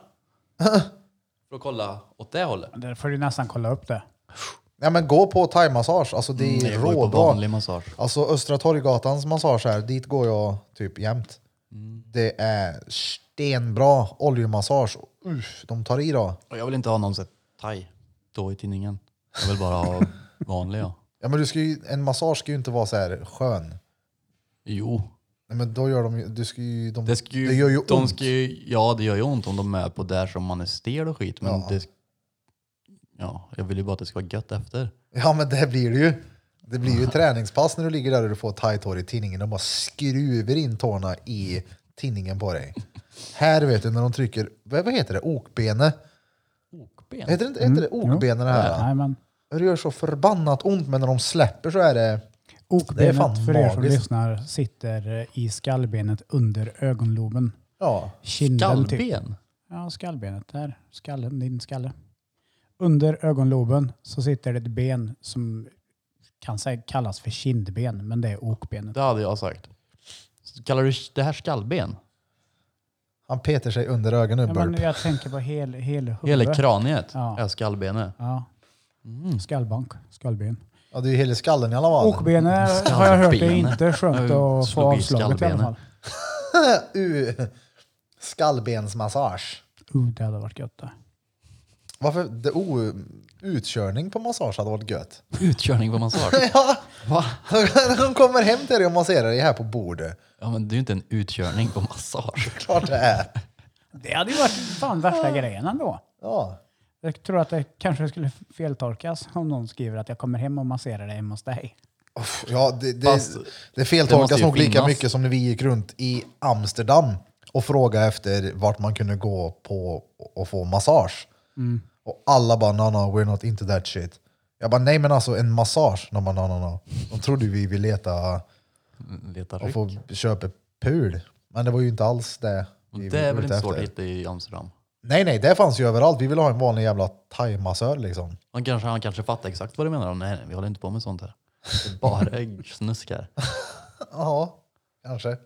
Speaker 3: För att kolla åt det hållet.
Speaker 2: Där får du nästan kolla upp det.
Speaker 1: Ja men gå på thaimassage, alltså det är
Speaker 3: Mm, Jag går ju på
Speaker 1: råbra.
Speaker 3: vanlig massage.
Speaker 1: Alltså Östra Torggatans massage här, dit går jag typ jämt.
Speaker 3: Mm.
Speaker 1: Det är stenbra oljemassage. Uff, de tar i då.
Speaker 3: Och jag vill inte ha någon sån thai då i tidningen. Jag vill bara ha vanlig ja.
Speaker 1: Ja, men du ska ju, en massage ska ju inte vara så här skön.
Speaker 3: Jo.
Speaker 1: Nej, men då gör de ju... Du ska ju de,
Speaker 3: Det, ska ju,
Speaker 1: gör ju
Speaker 3: de
Speaker 1: ont.
Speaker 3: Ska ju, ja, det gör ju ont om de är på där som man är stel och skit. Men
Speaker 1: Ja.
Speaker 3: det, ja, jag vill ju bara att det ska vara gött efter.
Speaker 1: Ja men det blir det ju. Det blir ju träningspass när du ligger där och du får tight hår i tinningen. De bara skruvar in tårna i tinningen på dig. Här vet du när de trycker, vad vad heter det, okbene?
Speaker 3: Okben.
Speaker 1: Heter det, inte- heter det okbene det här?
Speaker 2: Mm, Nej, men
Speaker 1: Det gör så förbannat ont men när de släpper så är det... Det är
Speaker 2: okbenet
Speaker 1: fan
Speaker 2: för er som
Speaker 1: magiskt.
Speaker 2: lyssnar sitter eh, i skallbenet under ögonloben.
Speaker 1: Ja.
Speaker 2: Kinden typ.
Speaker 3: Gallben.
Speaker 2: Ja, skallbenet där. Skallen, din skalle. Under ögonloben så sitter det ett ben som kan sä- kallas för kindben, men det är okbenet.
Speaker 3: Det hade jag sagt. Kallar du det här skallben?
Speaker 1: Han peter sig under ögonen,
Speaker 2: Ja,
Speaker 1: Burp.
Speaker 2: men jag tänker på hel, hel
Speaker 3: Hela
Speaker 2: huvud.
Speaker 3: kraniet
Speaker 2: Ja.
Speaker 3: är skallbenet.
Speaker 2: Ja.
Speaker 3: Mm.
Speaker 2: Skallbank, skallben.
Speaker 1: Ja, det är ju hela skallen i alla fall.
Speaker 2: Okbenet har jag hört är
Speaker 3: Skallbenet.
Speaker 2: inte skönt
Speaker 3: Jag
Speaker 2: att få
Speaker 3: slog i
Speaker 2: avslaget i alla fall.
Speaker 3: skallbenet.
Speaker 1: U- Skallbensmassage.
Speaker 2: Uh, det hade varit gött det.
Speaker 1: Varför? Det, o utkörning på massage hade varit gött.
Speaker 3: Utkörning på massage.
Speaker 1: Ja,
Speaker 3: Va?
Speaker 1: de kommer hem till dig och masserar dig här på bordet.
Speaker 3: Ja, men det är ju inte en utkörning på massage.
Speaker 1: Klart det är.
Speaker 2: Det hade ju varit fan värsta grejen ändå.
Speaker 1: Ja.
Speaker 2: Jag tror att det kanske skulle feltolkas om någon skriver att jag kommer hem och masserar dig hemma hos dig.
Speaker 1: Uff, Ja, det, det,
Speaker 3: Fast-
Speaker 1: det feltolkas
Speaker 3: måste ju
Speaker 1: nog lika
Speaker 3: finnas.
Speaker 1: mycket som när vi gick runt i Amsterdam och frågade efter vart man kunde gå på och få massage.
Speaker 3: Mm.
Speaker 1: Och alla bara no, no, we're not into that shit. Jag bara nej men alltså en massage. De bara no, no, no. De trodde ju vi ville leta
Speaker 3: Letar
Speaker 1: och
Speaker 3: ryck.
Speaker 1: få köpa pul. Men det var ju inte alls det vi
Speaker 3: Det är
Speaker 1: var
Speaker 3: väl
Speaker 1: ute
Speaker 3: inte svårt
Speaker 1: efter.
Speaker 3: att hitta i Amsterdam.
Speaker 1: Nej nej, det fanns ju överallt. Vi ville ha en vanlig jävla thaimassör liksom.
Speaker 3: Han kanske, han kanske fattar exakt vad du menar. Nej, nej, vi håller inte på med sånt här. Det är bara snusk här.
Speaker 1: Ja, kanske.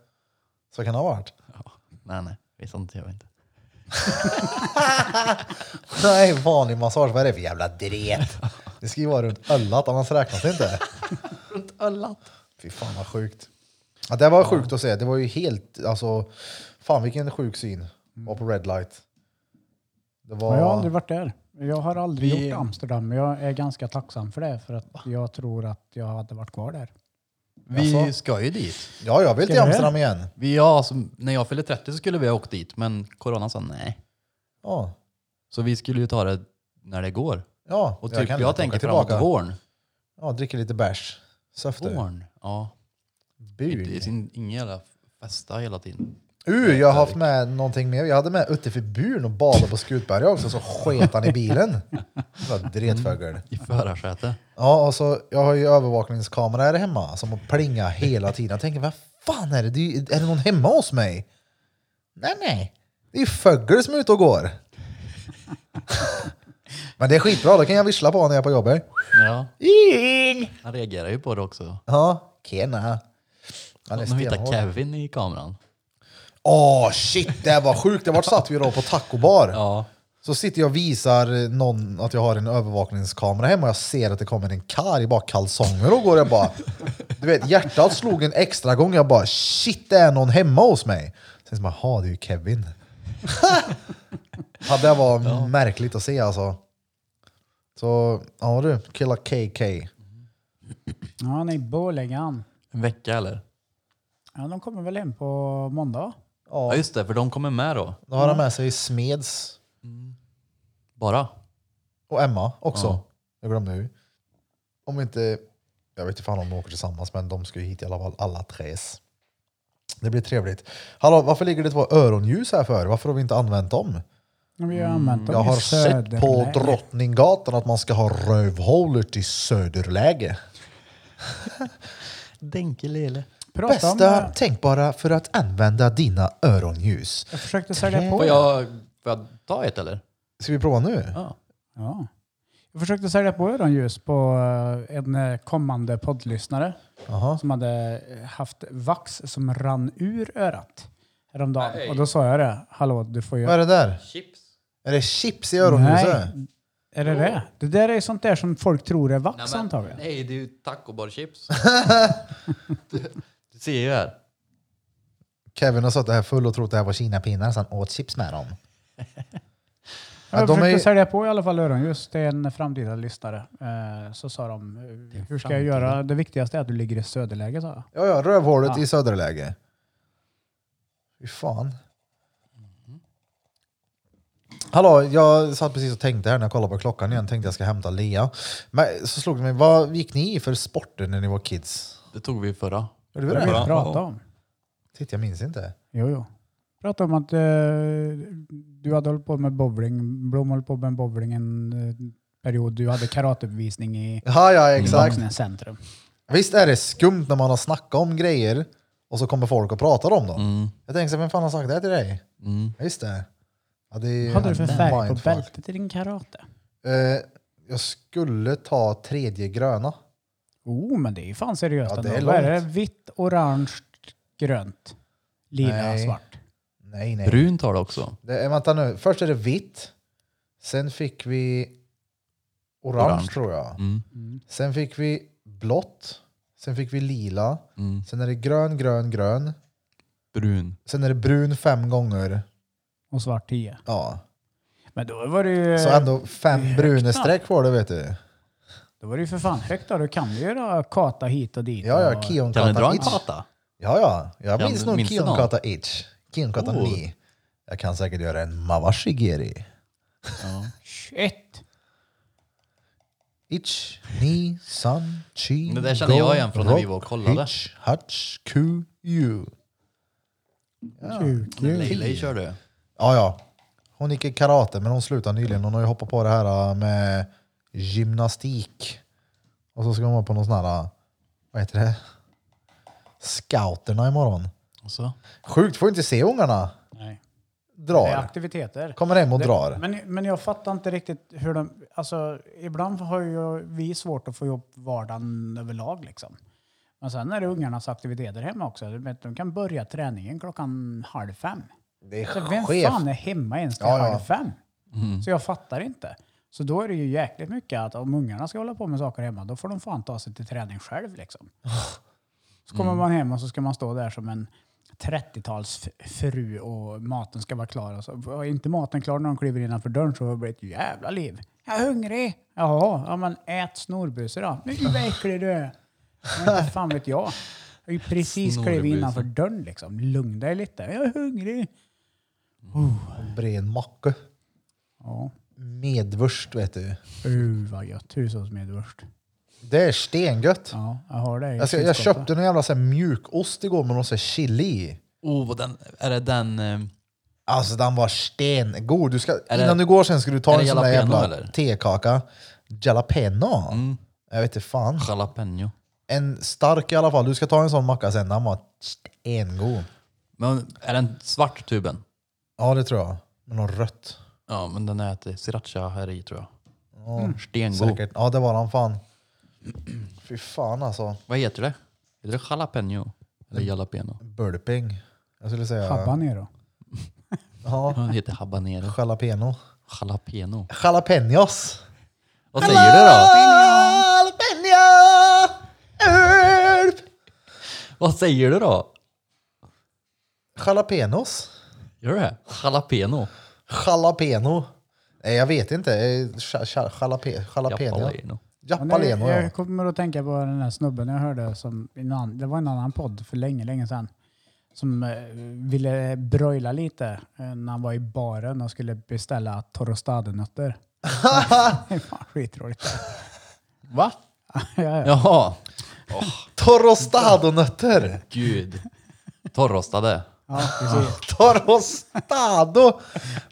Speaker 1: Så kan det ha varit.
Speaker 3: Nej, nej. vi är Sånt gör vi inte.
Speaker 1: Nej, vanlig massage. Vad är det för jävla dret? Det ska ju vara runt öllat, annars räknas det inte.
Speaker 3: Runt öllat.
Speaker 1: Fy fan vad sjukt. Ja, det var sjukt att se. Det var ju helt, alltså, fan vilken sjuk syn. Var på red light. Det var...
Speaker 2: Men jag har aldrig varit där. Jag har aldrig
Speaker 3: Vi-
Speaker 2: gjort Amsterdam. Jag är ganska tacksam för det för att jag tror att jag hade varit kvar där.
Speaker 3: Vi
Speaker 1: Jaså?
Speaker 3: ska ju dit.
Speaker 1: Ja, jag vill
Speaker 2: Ska
Speaker 1: till
Speaker 2: du
Speaker 1: Amsterdam igen.
Speaker 3: Vi, ja, alltså, när jag fyllde 30 så skulle vi ha åkt dit, men corona sa nej.
Speaker 1: Ja,
Speaker 3: Så vi skulle ju ta det när det går.
Speaker 1: ja.
Speaker 3: Och typ, jag,
Speaker 1: kan lätt
Speaker 3: tänker
Speaker 1: åka
Speaker 3: framåt våren.
Speaker 1: Ja, dricker lite bärs. Söfter.
Speaker 3: Våren? Ja. Inte- i
Speaker 1: Bug.
Speaker 3: sin- Ingen jävla festa hela tiden.
Speaker 1: Uh, jag har haft med någonting mer. Jag hade med Utte för buren och badade på Skutberga också, så sket han i bilen. Så Dretfögel.
Speaker 3: I förarsätet.
Speaker 1: Ja, och så, jag har ju övervakningskamera här hemma som plingar hela tiden. Jag tänker, vad fan är det? det är, ju- är det någon hemma hos mig? Nej, nej. Det är ju Fögel som är ute och går. Men det är skitbra, då kan jag vissla på när jag är på jobbet.
Speaker 3: Ja,
Speaker 1: In!
Speaker 3: han reagerar ju på det också.
Speaker 1: Ja, Kena. Han är
Speaker 3: De hittar
Speaker 1: stenhård.
Speaker 3: Kevin i kameran.
Speaker 1: Åh shit, det här var sjukt. Det var satt vi då på tacobar.
Speaker 3: Ja.
Speaker 1: Så sitter jag och visar någon att jag har en övervakningskamera hemma och jag ser att det kommer en karl i bara kalsonger och går. Jag bara, du vet, hjärtat slog en extra gång. Jag bara shit, det är någon hemma hos mig. Sen så bara, ha det är ju Kevin. ja, det var märkligt att se alltså. Så ja du, killa KK.
Speaker 2: Ja, han är i Borlänge han.
Speaker 3: En vecka eller?
Speaker 2: Ja, de kommer väl hem på måndag?
Speaker 1: Ja,
Speaker 3: Ja just det, för de kommer med då.
Speaker 1: då har han med sig Smeds
Speaker 3: Bara.
Speaker 1: Och Emma också.
Speaker 3: Ja.
Speaker 1: Jag glömde ju. Om inte... Jag vet inte fan om de åker tillsammans, men de ska ju hit i alla fall, alla tres. Det blir trevligt. Hallå, varför ligger det två öronljus här för? Varför har vi inte använt dem?
Speaker 2: Men Vi har använt dem
Speaker 1: Mm, Jag
Speaker 2: i
Speaker 1: har sett på
Speaker 2: Söderlä-
Speaker 1: Drottninggatan att man ska ha rövhålor till söderläge.
Speaker 3: Denkelele.
Speaker 2: Prata om
Speaker 1: Bästa
Speaker 2: det.
Speaker 1: tänkbara för att använda dina öronljus.
Speaker 2: Jag försökte sälja på
Speaker 3: Får
Speaker 2: det.
Speaker 3: jag, får jag ta ett eller?
Speaker 1: Ska vi prova nu?
Speaker 3: Ja.
Speaker 2: Ja. Jag försökte sälja på öronljus på eh, en eh, kommande poddlyssnare
Speaker 1: Jaha.
Speaker 2: som hade eh, haft vax som rann ur örat häromdagen. Och då sa jag det. Hallå, du får ju...
Speaker 1: Vad är det där?
Speaker 3: Chips.
Speaker 1: Är det chips i öronljuset?
Speaker 2: Är det det? Det där är ju sånt där som folk tror är vax antagligen.
Speaker 3: nej, det är ju tacobarchips. du ser ju här.
Speaker 1: Kevin har suttit här full och trott att det här var kinapinnar så han åt chips med dem.
Speaker 2: Jag
Speaker 1: Ja, de är
Speaker 2: försökte
Speaker 1: ju-
Speaker 2: sälja på i alla fall öronljus till en framtida lyssnare. Eh, Så sa de, eh, hur ska jag göra? Det viktigaste är att du ligger i söderläge, sa jag.
Speaker 1: Ja, ja rövhålet i söderläge. Fy fan. Hallå, jag satt precis och tänkte här när jag kollade på klockan igen. Tänkte jag ska hämta Lea. Men så slog det mig, vad gick ni i för sporter när ni var kids?
Speaker 3: Det tog vi förra.
Speaker 1: Gjorde vi
Speaker 2: Det
Speaker 1: det?
Speaker 2: vill
Speaker 3: bra.
Speaker 2: jag prata om.
Speaker 1: Titta, jag minns inte.
Speaker 2: Jo, jo. Prata om att eh, du hade hållit på med bowling. Blom höll på med bowling en eh, period. Du hade karateuppvisning i
Speaker 1: Ja, ja, exakt.
Speaker 2: Vaxnäs centrum.
Speaker 1: Visst är det skumt när man har snackat om grejer och så kommer folk och pratar om dem.
Speaker 3: Mm.
Speaker 1: Jag tänkte, så här, vem fan har sagt det här till dig?
Speaker 3: Mm.
Speaker 1: Ja, Just det. Ja, det är ju
Speaker 2: Hade du för färg på
Speaker 1: mindfuck.
Speaker 2: bältet i din karate?
Speaker 1: Eh, jag skulle ta tredje gröna.
Speaker 2: Oh, men det är ju fan seriöst
Speaker 1: Ja, det
Speaker 2: ändå.
Speaker 1: är
Speaker 2: Vad är det?
Speaker 1: långt.
Speaker 2: Vitt, orange, grönt, lila,
Speaker 1: Nej.
Speaker 2: svart.
Speaker 1: Nej, nej.
Speaker 3: Brunt har det också.
Speaker 1: Det är, vänta nu, först är det vitt. Sen fick vi orange,
Speaker 3: Orange.
Speaker 1: tror jag.
Speaker 3: Mm.
Speaker 1: Sen fick vi blått. Sen fick vi lila.
Speaker 3: Mm.
Speaker 1: Sen är det grön, grön, grön.
Speaker 3: Brun.
Speaker 1: Sen är det brun fem gånger.
Speaker 2: Och svart 10.
Speaker 1: Ja.
Speaker 2: Men då var det ju,
Speaker 1: Så ändå fem bruna streck var det vet du.
Speaker 2: då var det ju för fan högt. Då. Du kan ju göra kata hit och dit.
Speaker 1: Ja, ja,
Speaker 2: och-
Speaker 3: Kan du dra
Speaker 1: Kionkata
Speaker 3: en
Speaker 1: itch.
Speaker 3: pata?
Speaker 1: Ja, ja. Jag
Speaker 3: Ja,
Speaker 1: minns
Speaker 3: men
Speaker 1: nog
Speaker 3: minns du någon?
Speaker 1: Kionkata itch. Kionkata
Speaker 3: Oh.
Speaker 1: ni. Jag kan säkert göra en Mawashigeri.
Speaker 2: Shit!
Speaker 1: Itch, ni, san, chi,
Speaker 3: Det där känner jag
Speaker 1: go,
Speaker 3: igen från när vi
Speaker 1: rock,
Speaker 3: var och kollade.
Speaker 1: Hitch, hutch, ku, you.
Speaker 2: Kul, kul.
Speaker 3: Leila kör du.
Speaker 1: Ja, ja. Hon gick i karate, men hon slutade nyligen. Hon har ju hoppat på det här äh, med gymnastik. Och så ska hon vara på någon sån här, äh, vad heter det? Scouterna imorgon.
Speaker 3: Och så.
Speaker 1: Sjukt, får inte se ungarna.
Speaker 2: Nej. Det är
Speaker 1: Drar.
Speaker 2: aktiviteter.
Speaker 1: Kommer hem och
Speaker 2: Det-
Speaker 1: drar.
Speaker 2: Men, men jag fattar inte riktigt hur de... Alltså, ibland har ju vi svårt att få ihop vardagen överlag. Liksom. Men sen är det ungarnas aktiviteter hemma också. Du vet, De kan börja träningen klockan halv fem.
Speaker 1: Det är
Speaker 2: Så Alltså, vem
Speaker 1: skevt.
Speaker 2: fan är hemma ens till
Speaker 1: Ja, ja.
Speaker 2: halv fem? Så jag fattar inte. Så då är det ju jäkligt mycket att om ungarna ska hålla på med saker hemma, då får de fan ta sig till träning själv. Liksom. Så kommer man hem och så ska man stå där som en 30-talsfru och maten ska vara klar. Och så, var inte maten klar när de kliver innanför dörren så blir det ett jävla liv. Jag är hungrig! Jaha, ja men ät snorbuse då. Nu vad äcklig du är! Men inte fan vet jag. Jag har ju precis klivit
Speaker 3: Snorbuse.
Speaker 2: innanför dörren liksom. Lugna dig lite. Jag är hungrig!
Speaker 1: Bred macka.
Speaker 2: Ja.
Speaker 1: Medvurst vet du.
Speaker 2: Uh, vad gött. Hushållsmedvurst.
Speaker 1: Det är stengött.
Speaker 2: Ja, jag har det i
Speaker 1: Alltså, jag, jag
Speaker 2: kylskåpet.
Speaker 1: köpte en jävla så här, mjukost igår med någon så här chili i.
Speaker 3: Oh, vad den, är det den... eh,
Speaker 1: Alltså den var stengod. Du ska,
Speaker 3: det-
Speaker 1: innan du går sen ska du
Speaker 3: är
Speaker 1: ta en
Speaker 3: det
Speaker 1: sån där jävla
Speaker 3: jalapeno, eller?
Speaker 1: tekaka. Jalapeno?
Speaker 2: Mm.
Speaker 1: Jag vet inte fan.
Speaker 3: Jalapeno.
Speaker 1: En stark i alla fall. Du ska ta en sån macka sen. Den var stengod.
Speaker 3: Men är den svart tuben?
Speaker 1: Ja det tror jag. Med något rött.
Speaker 3: Ja, men den äter sriracha här i tror jag.
Speaker 1: Ja,
Speaker 3: Mm. Stengod.
Speaker 1: Säkert. Ja det var den fan. Fy fan alltså.
Speaker 3: Vad heter det? Heter det jalapeno? Eller
Speaker 1: Mm.
Speaker 3: jalapeno?
Speaker 1: Burping. Jag skulle säga...
Speaker 2: Habanero.
Speaker 1: Ja.
Speaker 3: Ja, Det heter habanero.
Speaker 1: Jalapeno.
Speaker 3: Jalapeno.
Speaker 1: Jalapenos.
Speaker 3: Vad säger du då?
Speaker 1: Jalapeno! Herb!
Speaker 3: Vad säger du då?
Speaker 1: Jalapenos?
Speaker 3: Gör du det? Jalapeno.
Speaker 1: Jalapeno? Nej jag vet inte. Eh, cha- cha- jalape- Jalapeno?
Speaker 3: Jalapeno.
Speaker 2: Men det-
Speaker 1: Japaleno ja.
Speaker 2: jag kommer att tänka på den där snubben jag hörde. Som i en annan, det var en annan podd för länge, länge sedan. Som eh, ville broila lite eh, när han var i baren och skulle beställa torostadenötter. det är fan skitroligt.
Speaker 3: Va?
Speaker 2: ja, ja.
Speaker 3: Jaha.
Speaker 1: Torrostadonötter!
Speaker 3: Gud. Torrostade.
Speaker 2: ja, precis.
Speaker 1: Torrostado!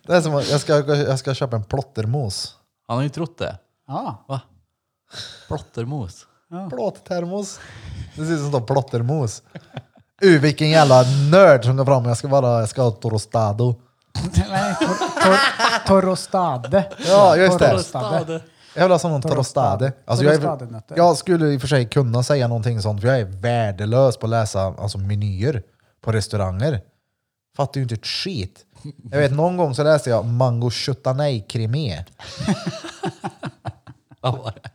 Speaker 1: Det är som att jag ska, jag ska köpa en plottermos.
Speaker 3: Han har ju trott det.
Speaker 2: Ja,
Speaker 3: Va? Plottermos.
Speaker 1: Plåttermos. Det ser ut som en plottermos. Uh, vilken jävla nörd som går fram. Jag ska bara, jag ska ha torrostado.
Speaker 2: nej, tor, tor, torrostade.
Speaker 1: Ja, just det.
Speaker 2: Torrostade.
Speaker 1: Jag vill ha sån torrostade. Alltså jag, är,
Speaker 2: Torrostadenötter.
Speaker 1: jag skulle i och för sig kunna säga någonting sånt, för jag är värdelös på att läsa alltså, menyer på restauranger. Fattar ju inte ett skit. Jag vet någon gång så läste jag mango chutney cremé.
Speaker 3: Vad var det?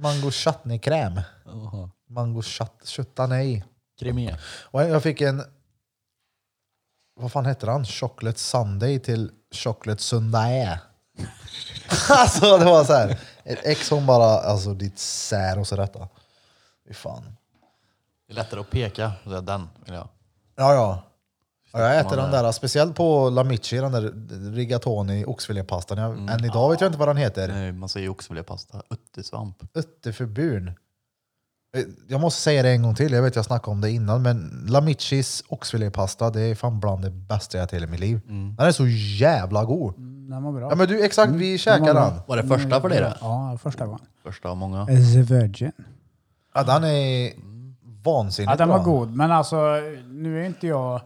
Speaker 1: Mango chutney crème.
Speaker 3: Jaha.
Speaker 1: Mango chut- chutney.
Speaker 3: Krimé.
Speaker 1: Och jag fick en... Vad fan heter han? Chocolate Sunday till Chocolate Sunday. alltså det var så här. Ett ex hon bara, alltså ditt sär och så detta. Fy fan.
Speaker 3: Det är lättare att peka. Så jag, Den vill jag.
Speaker 1: Ja, ja. ja jag äter den där, speciellt på Lamici, den där rigatoni oxfilépastan. Jag, Än idag vet jag inte vad den heter.
Speaker 3: Mm. Nej, Man säger ju oxfilépasta. Uttesvamp.
Speaker 1: Ötterförbun. Eh, Jag måste säga det en gång till, jag vet jag snackade om det innan, men Lamicis oxfilépasta, det är fan bland det bästa jag ätit i hela mitt liv.
Speaker 3: Mm.
Speaker 1: Den är så jävla god.
Speaker 2: Mm, Den var bra.
Speaker 1: Ja men du, exakt, vi käkar
Speaker 2: bra.
Speaker 1: den.
Speaker 3: Var det första för dig det?
Speaker 2: Ja, första gången.
Speaker 3: Första av många.
Speaker 2: The Virgin.
Speaker 1: Ja, den är
Speaker 3: Mm.
Speaker 2: Ja,
Speaker 1: vansinnigt
Speaker 2: den var
Speaker 1: bra.
Speaker 2: god. Men alltså, nu är inte jag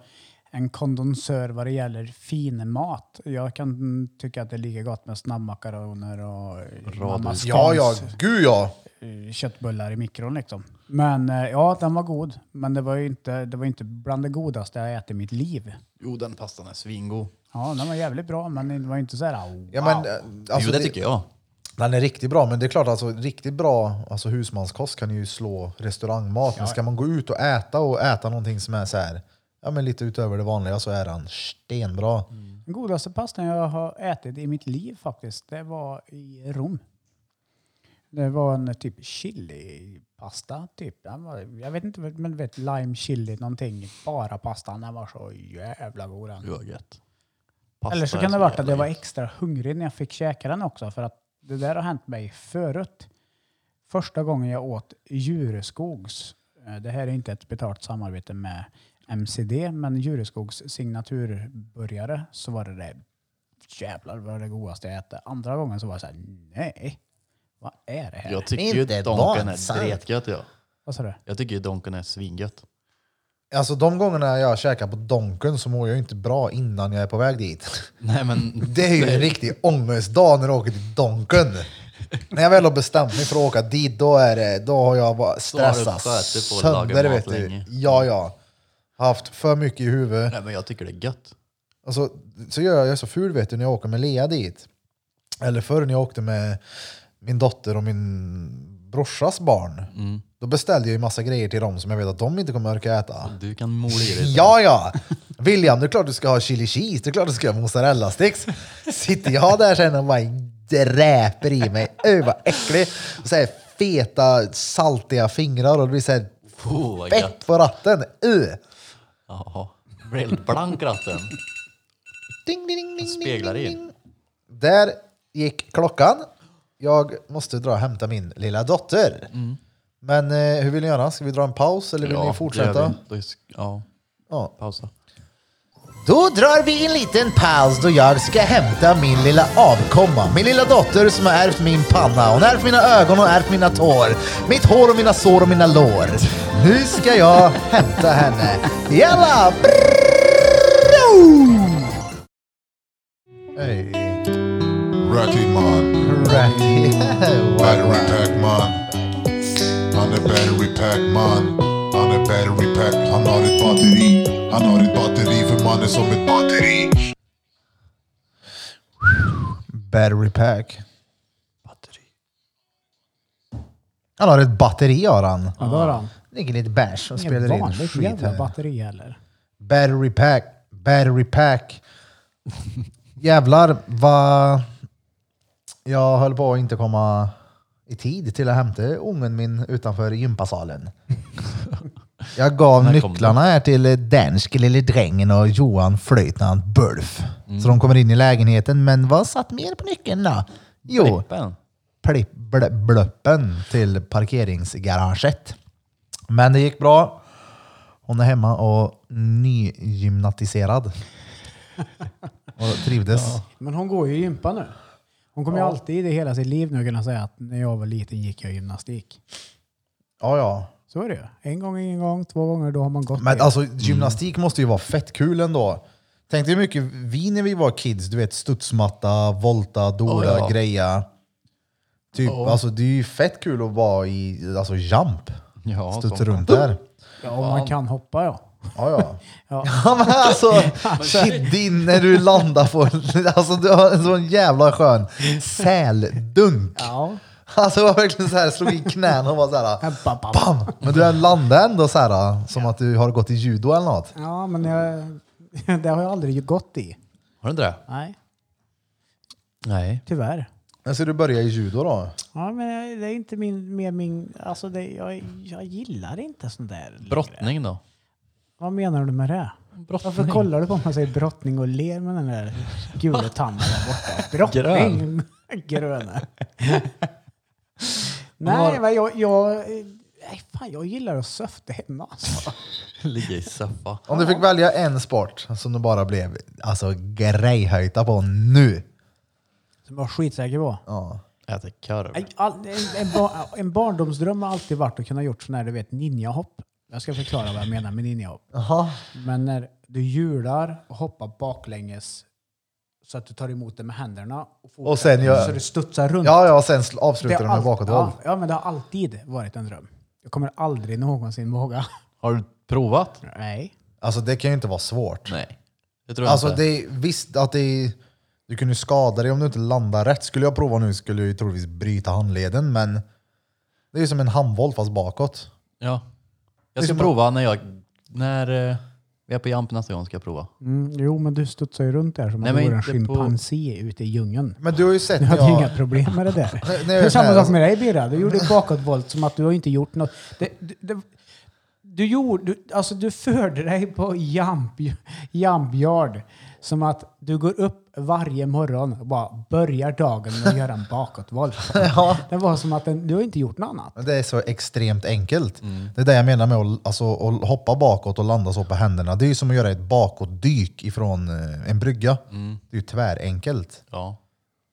Speaker 2: en kondensör vad det gäller finmat. Jag kan tycka att det är lika gott med snabbmakaroner och mammas
Speaker 1: Ja, ja,
Speaker 2: Scans,
Speaker 1: gud ja.
Speaker 2: eh, köttbullar i mikron liksom. Men eh, ja, den var god. Men det var ju inte, det var inte bland det godaste jag ätit i mitt liv.
Speaker 3: Jo, den pastan är svingod.
Speaker 2: Ja, den var jävligt bra, men det var ju inte så här wow.
Speaker 1: ja men, eh, alltså,
Speaker 3: jo, det
Speaker 1: det-
Speaker 3: tycker jag.
Speaker 1: Den är riktigt bra, men det är klart alltså riktigt bra alltså husmanskost kan ju slå restaurangmat. Men ska man gå ut och äta och äta någonting som är så här, ja men lite utöver det vanliga så är den stenbra.
Speaker 3: Mm.
Speaker 2: Den godaste pastan jag har ätit i mitt liv faktiskt, det var i Rom. Det var en typ chilipasta. Typ. Den var, jag vet inte, men du vet lime chili någonting. Bara pastan. Den var så jävla god den.
Speaker 3: Det var gött.
Speaker 2: Eller så kan det ha varit att jag var extra hungrig när jag fick käka den också. För att det där har hänt mig förut. Första gången jag åt Djureskogs, eh, det här är inte ett betalt samarbete med MCD, men Djureskogs signaturbörjare så var det det jävlar vad det godaste jag ätit. Andra gången så var jag så här, nej, vad är det här?
Speaker 3: Jag tycker
Speaker 1: Inte
Speaker 3: ju donken är
Speaker 1: dansar.
Speaker 3: dretgött. Ja.
Speaker 2: Vad sa du?
Speaker 3: Jag tycker ju donken är svingött.
Speaker 1: Alltså de gångerna jag käkar på Donken så mår jag ju inte bra innan jag är på väg dit.
Speaker 3: Nej, men
Speaker 1: Det är ju en riktig ångestdag när du åker till Donken. När jag väl har bestämt mig för att åka dit, då, är det, då har jag bara
Speaker 3: har du
Speaker 1: stressat
Speaker 3: skötit på att laga
Speaker 1: sönder.
Speaker 3: mat
Speaker 1: Vet du.
Speaker 3: länge.
Speaker 1: Ja, ja. Haft för mycket i huvudet.
Speaker 3: Nej, men jag tycker det är gött.
Speaker 1: Alltså, Och så, så gör jag, jag är så ful vet du när jag åker med Lea dit. Eller förr när jag åkte med min dotter och min brorsas barn.
Speaker 3: Mm.
Speaker 1: Då beställde jag ju massa grejer till dem som jag vet att de inte kommer orka äta.
Speaker 3: Du kan måla i dig.
Speaker 1: Ja, ja! William, det är klart du ska ha chili cheese, det är klart du ska ha mozzarella sticks. Sitter jag där sen och bara dräper i mig. Öh, vad äcklig! Och så här feta, saltiga fingrar och det blir så här
Speaker 3: Oh, vad gött.
Speaker 1: fett på ratten. Öh!
Speaker 3: Jaha. Blir helt blank ratten.
Speaker 1: Ding, ding, ding, ding,
Speaker 3: Speglar
Speaker 1: ding,
Speaker 3: in.
Speaker 1: ding. Där gick klockan. Jag måste dra och hämta min lilla dotter. Men eh, hur vill ni göra? Ska vi dra en paus eller vill ni
Speaker 3: Mm. Ja, det gör
Speaker 1: fortsätta?
Speaker 3: vi. Då är- Ja,
Speaker 1: Ja.
Speaker 3: pausa.
Speaker 1: Då drar vi en liten paus då jag ska hämta min lilla avkomma. Min lilla dotter som har ärvt min panna. Hon har ärvt mina ögon och ärvt mina tår. Mitt hår och mina sår och mina lår. Nu ska jag hämta henne. Jalla! Hey.
Speaker 5: Ratty Mon, battery pack Mon, on the battery pack Mon, on the battery pack. Han har ett batteri, han har ett batteri för man är som ett batteri.
Speaker 1: Battery pack.
Speaker 3: Batteri.
Speaker 1: Han har ett batteri har han.
Speaker 2: Ja, då har han.
Speaker 1: Dricker lite bärs och
Speaker 2: Inget
Speaker 1: spelar in
Speaker 2: vanligt
Speaker 1: skit
Speaker 2: jävla
Speaker 1: här.
Speaker 2: batteri heller.
Speaker 1: Battery pack, battery pack. Jävlar vad jag höll på att inte komma i tid till att hämta ungen min utanför gympasalen. Jag gav
Speaker 3: När kom
Speaker 1: nycklarna här till dansk lille drängen och Johan flöjt när han bulf. Så de kommer in i lägenheten, men vad satt mer på nyckeln då? Jo,
Speaker 3: Flippen.
Speaker 1: plipp, blö, blöppen till parkeringsgaraget. Men det gick bra. Hon är hemma och nygymnatiserad. Och trivdes.
Speaker 2: Men hon går ju i gympa nu. Hon kommer ju alltid i hela sitt liv nu kunna säga att när jag var liten gick jag gymnastik.
Speaker 1: Ja, ja.
Speaker 2: Så är det ju. En gång är en gång, två gånger då har man gått
Speaker 1: Men
Speaker 3: Mm.
Speaker 2: det.
Speaker 1: alltså gymnastik måste ju vara fett kul ändå. Tänk dig hur mycket vi när vi var kids, du vet studsmatta, volta, dola,
Speaker 3: Oh, ja.
Speaker 1: greja. Typ, alltså det är ju fett kul att vara i alltså, jump.
Speaker 3: Ja,
Speaker 1: Studsa
Speaker 3: sånt.
Speaker 1: runt där.
Speaker 2: Ja, om man kan hoppa ja.
Speaker 1: Ja, ja.
Speaker 2: Ja.
Speaker 1: Ja, men alltså, shit, din när du landar på... Alltså, du har en sån jävla skön säldunk.
Speaker 2: ja.
Speaker 1: Alltså, det var verkligen så här, slog i knäna och var så här...
Speaker 2: Ja, bam, bam.
Speaker 1: Bam! Men du landade ändå så här, som att du har gått i judo eller något.
Speaker 2: ja men jag, det har jag aldrig gått i.
Speaker 3: Har du inte det?
Speaker 2: Nej,
Speaker 3: Nej.
Speaker 2: tyvärr.
Speaker 1: Men så du börjar i judo då?
Speaker 2: Ja, men jag- det är inte min, mer min, alltså det, jag, jag gillar inte sånt där. längre.
Speaker 3: Brottning då?
Speaker 2: Vad menar du med det?
Speaker 3: Brottning.
Speaker 2: Varför kollar du på mig och säger brottning och ler med den där gula tanden där borta? Brottning! Gröna. Nej, men jag, jag, nej, fan, jag gillar att söfta hemma alltså.
Speaker 3: Ligga i soffa.
Speaker 1: Om du fick välja en sport som du bara blev alltså, grejhöjta på nu.
Speaker 2: Som jag var skitsäker på.
Speaker 1: Ja.
Speaker 3: Äta korv.
Speaker 2: Nej, all- En, en, bar, en barndomsdröm har alltid varit att kunna gjort sån här, du vet, ninjahopp. Jag ska förklara vad jag menar med ninjahopp.
Speaker 1: Jaha.
Speaker 2: Men när du hjular och hoppar baklänges så att du tar emot det med händerna och,
Speaker 1: Och sen gör-
Speaker 2: så du studsar runt.
Speaker 1: Ja, ja, sen sl-
Speaker 2: Det har
Speaker 1: avslutar du med
Speaker 2: allt-
Speaker 1: bakåtvolt.
Speaker 2: Ja, ja, men det har alltid varit en dröm. Jag kommer aldrig någonsin våga.
Speaker 3: Har du provat?
Speaker 2: Nej.
Speaker 1: Alltså, det kan ju inte vara svårt.
Speaker 3: Nej. Det tror jag
Speaker 1: Alltså
Speaker 3: inte.
Speaker 1: det är, visst att det är, du kunde skada dig om du inte landar rätt. Skulle jag prova nu skulle jag ju troligtvis bryta handleden, men det är ju som en handboll fast bakåt.
Speaker 3: Ja. Jag
Speaker 1: är
Speaker 3: ska
Speaker 1: som att-
Speaker 3: prova när jag... När eh, vi är på Jamp nästa gång ska jag prova.
Speaker 2: Mm, jo, men du studsar ju runt där som
Speaker 3: Nej,
Speaker 2: om
Speaker 3: men
Speaker 2: du vore en
Speaker 3: inte på-
Speaker 2: schimpansé ute i djungeln.
Speaker 1: Men du har ju sett
Speaker 2: Du
Speaker 1: när
Speaker 2: hade ju
Speaker 1: jag...
Speaker 2: inga problem med det där.
Speaker 1: Nej,
Speaker 2: det är samma
Speaker 1: nej,
Speaker 2: sak med dig Birra. Du gjorde bakåtvolt som att du har inte gjort något. Det, det, det, du, gjorde, du, alltså, du förde dig på jump, jump yard som att du går upp varje morgon och bara börjar dagen med att göra en bakåtvolt. Det var som att den, du har inte gjort något annat.
Speaker 1: Men Det är så extremt enkelt.
Speaker 3: Mm.
Speaker 1: Det är det jag menar med att, alltså, att hoppa bakåt och landa så på händerna. Det är ju som att göra ett bakåtdyk ifrån eh, en brygga.
Speaker 3: Mm.
Speaker 1: Det är ju tvärenkelt.
Speaker 3: Ja.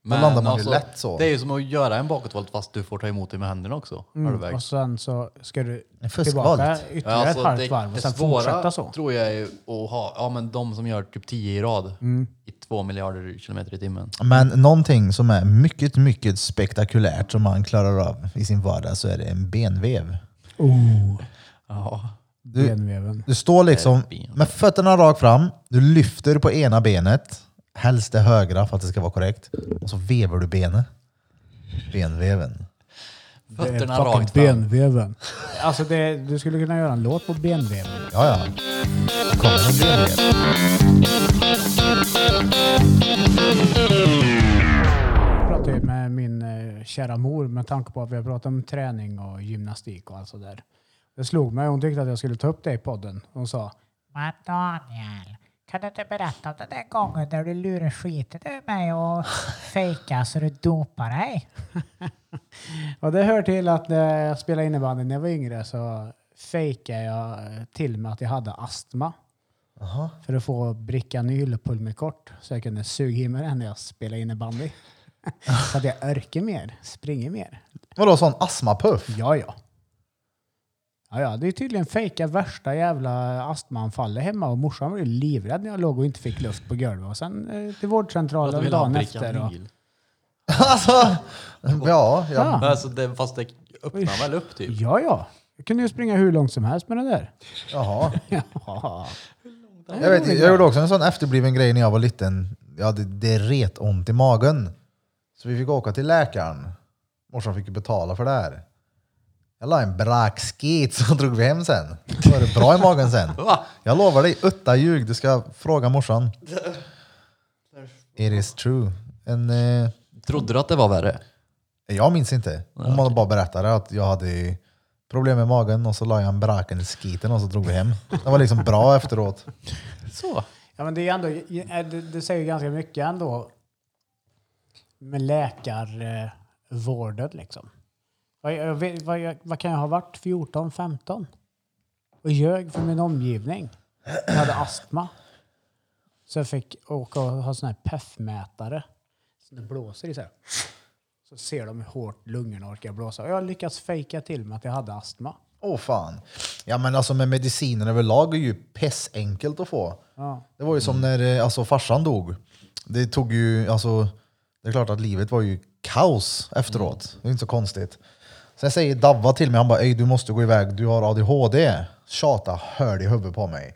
Speaker 3: alltså,
Speaker 1: landar man ju lätt så.
Speaker 3: Det är ju som att göra en bakåtvolt fast du får ta emot det med händerna också.
Speaker 1: Mm.
Speaker 3: Har du alltså, väg.
Speaker 2: Mm, Och sen så ska du
Speaker 1: En fuskvolt.
Speaker 2: tillbaka ytterligare ett halvt varv och sen fortsätta så.
Speaker 3: tror jag är att ha, ja men de som gör typ 10 i rad
Speaker 2: Mm.
Speaker 3: i 2 miljarder kilometer i timmen.
Speaker 1: Men någonting som är mycket, mycket spektakulärt som man klarar av i sin vardag så är det en benvev.
Speaker 2: Oh,
Speaker 3: Ja.
Speaker 1: Du,
Speaker 2: benveven.
Speaker 1: Du står liksom
Speaker 3: Ett ben.
Speaker 1: med fötterna rakt fram, du lyfter på ena benet, Helst det högra för att det ska vara korrekt. Och så vevar du benet. Benveven.
Speaker 3: Fötterna
Speaker 2: Fucking
Speaker 3: rakt fram.
Speaker 2: benveven. Alltså det, du skulle kunna göra en låt på benveven.
Speaker 1: Ja, ja. Kommer en benvev.
Speaker 2: Jag pratade ju med min eh, kära mor med tanke på att vi har pratat om träning och gymnastik och allt sådär. Det slog mig, hon tyckte att jag skulle ta upp det i podden. Hon sa
Speaker 4: Men Daniel, kan du inte berätta om den där gången när du lurade skiten ur mig och fejkade så du dopade dig?
Speaker 2: Och det hör till att när jag spelade innebandy när jag var yngre så fejkade jag eh, till med att jag hade astma. För att få Bricanyl pulmikort så jag kunde suga i mig den när jag spelade innebandy. så att jag örker mer, springer mer.
Speaker 1: Vadå, sån astmapuff?
Speaker 2: Ja, ja. Ja, ja, det är tydligen fejka värsta jävla astmaanfallet hemma och morsan var ju livrädd när jag låg och inte fick luft på golvet. Och sen eh, till
Speaker 3: För att du
Speaker 2: vårdcentralen
Speaker 3: vill ha
Speaker 2: dagen
Speaker 3: brickan
Speaker 2: efter. Och,
Speaker 3: bil.
Speaker 1: Alltså, ja, ja.
Speaker 2: ja,
Speaker 3: Alltså det, fast det öppnar väl upp typ.
Speaker 2: ja, ja. Jag kunde ju springa hur långt som helst med den där.
Speaker 1: Jaha.
Speaker 2: Ja.
Speaker 1: Jag, vet, jag gjorde också en sån efterbliven grej när jag var liten. Ja, det, det ret ont i magen. Så vi fick åka till läkaren. Morsan fick ju betala för det här. Jag la en brakskit så drog vi hem sen. Då var det bra i magen sen.
Speaker 3: Va?
Speaker 1: Jag lovar dig, utta ljug. Du ska fråga morsan. It is true. En, eh,
Speaker 3: Trodde du att det var värre?
Speaker 1: jag minns inte. Om man bara berättade att jag hade problem med magen och så la jag en braken i skiten och så drog vi hem. Det var liksom bra efteråt.
Speaker 3: Så.
Speaker 2: Ja, men det, är ändå, det, det säger ju ganska mycket ändå med läkarvården. Liksom. Vad, jag, vet- vad, jag, vad kan jag ha varit? 14, 15? Och ljög för min omgivning. Jag hade astma. Så jag fick åka och ha sån här PEF-mätare. Så det blåser i så här. Så ser de hur hårt lungorna orkar blåsa. Och jag har lyckats fejka till med att jag hade astma.
Speaker 1: Åh fan. Ja men alltså med mediciner överlag är ju pissenkelt att få.
Speaker 2: Ja.
Speaker 1: Det var ju som när eh, alltså, farsan dog. Det tog ju, alltså, det är klart att livet var ju kaos efteråt. Det är inte så konstigt. Sen säger Davva till mig, han bara "Ey, du måste gå iväg, du har ADHD. Tjata hörde i huvudet på mig.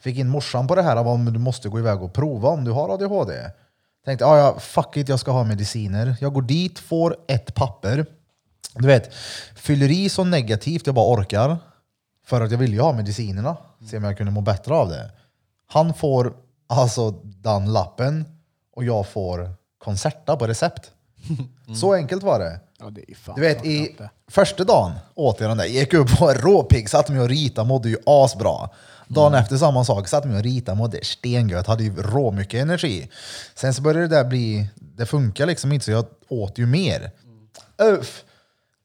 Speaker 1: Fick in morsan på det här, han bara, "Men du måste gå iväg och prova om du har ADHD. Tänkte, "Ah, ja fuck it, jag ska ha mediciner. Jag går dit, får ett papper. Du vet, fyller i så negativt jag bara orkar. För att jag ville ju ha medicinerna. Se om jag kunde må bättre av det. Han får alltså den lappen och jag får Concerta på recept. Så enkelt var det.
Speaker 2: Ja, det är ju fan
Speaker 1: Du vet,
Speaker 2: klart
Speaker 1: i
Speaker 2: att det-
Speaker 1: första dagen åt jag den där, gick upp och var råpigg, satt mig och ritade, mådde ju asbra. Dagen
Speaker 2: Mm.
Speaker 1: efter samma sak, satt mig och ritade, mådde stengött, hade ju råmycket energi. Sen så började det där bli, det funkar liksom inte så jag åt ju mer.
Speaker 2: Mm.
Speaker 1: Uff.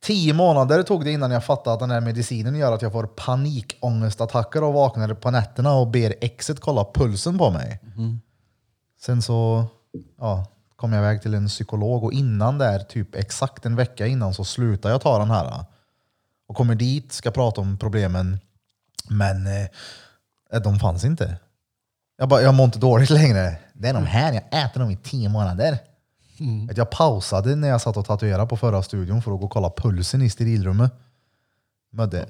Speaker 1: Tio månader tog det innan jag fattade att den här medicinen gör att jag får panikångestattacker och vaknar på nätterna och ber exet kolla pulsen på mig. Sen så ja, kom jag iväg till en psykolog och innan där, typ exakt en vecka innan, så slutade jag ta den här. äh, Och kommer dit, ska prata om problemen, men eh, de fanns inte. Jag bara, jag mår inte dåligt längre. Det är de här, jag äter dem i tio månader. Att jag pausade när jag satt och tatuerade på förra studion för att gå och kolla pulsen i sterilrummet. Mådde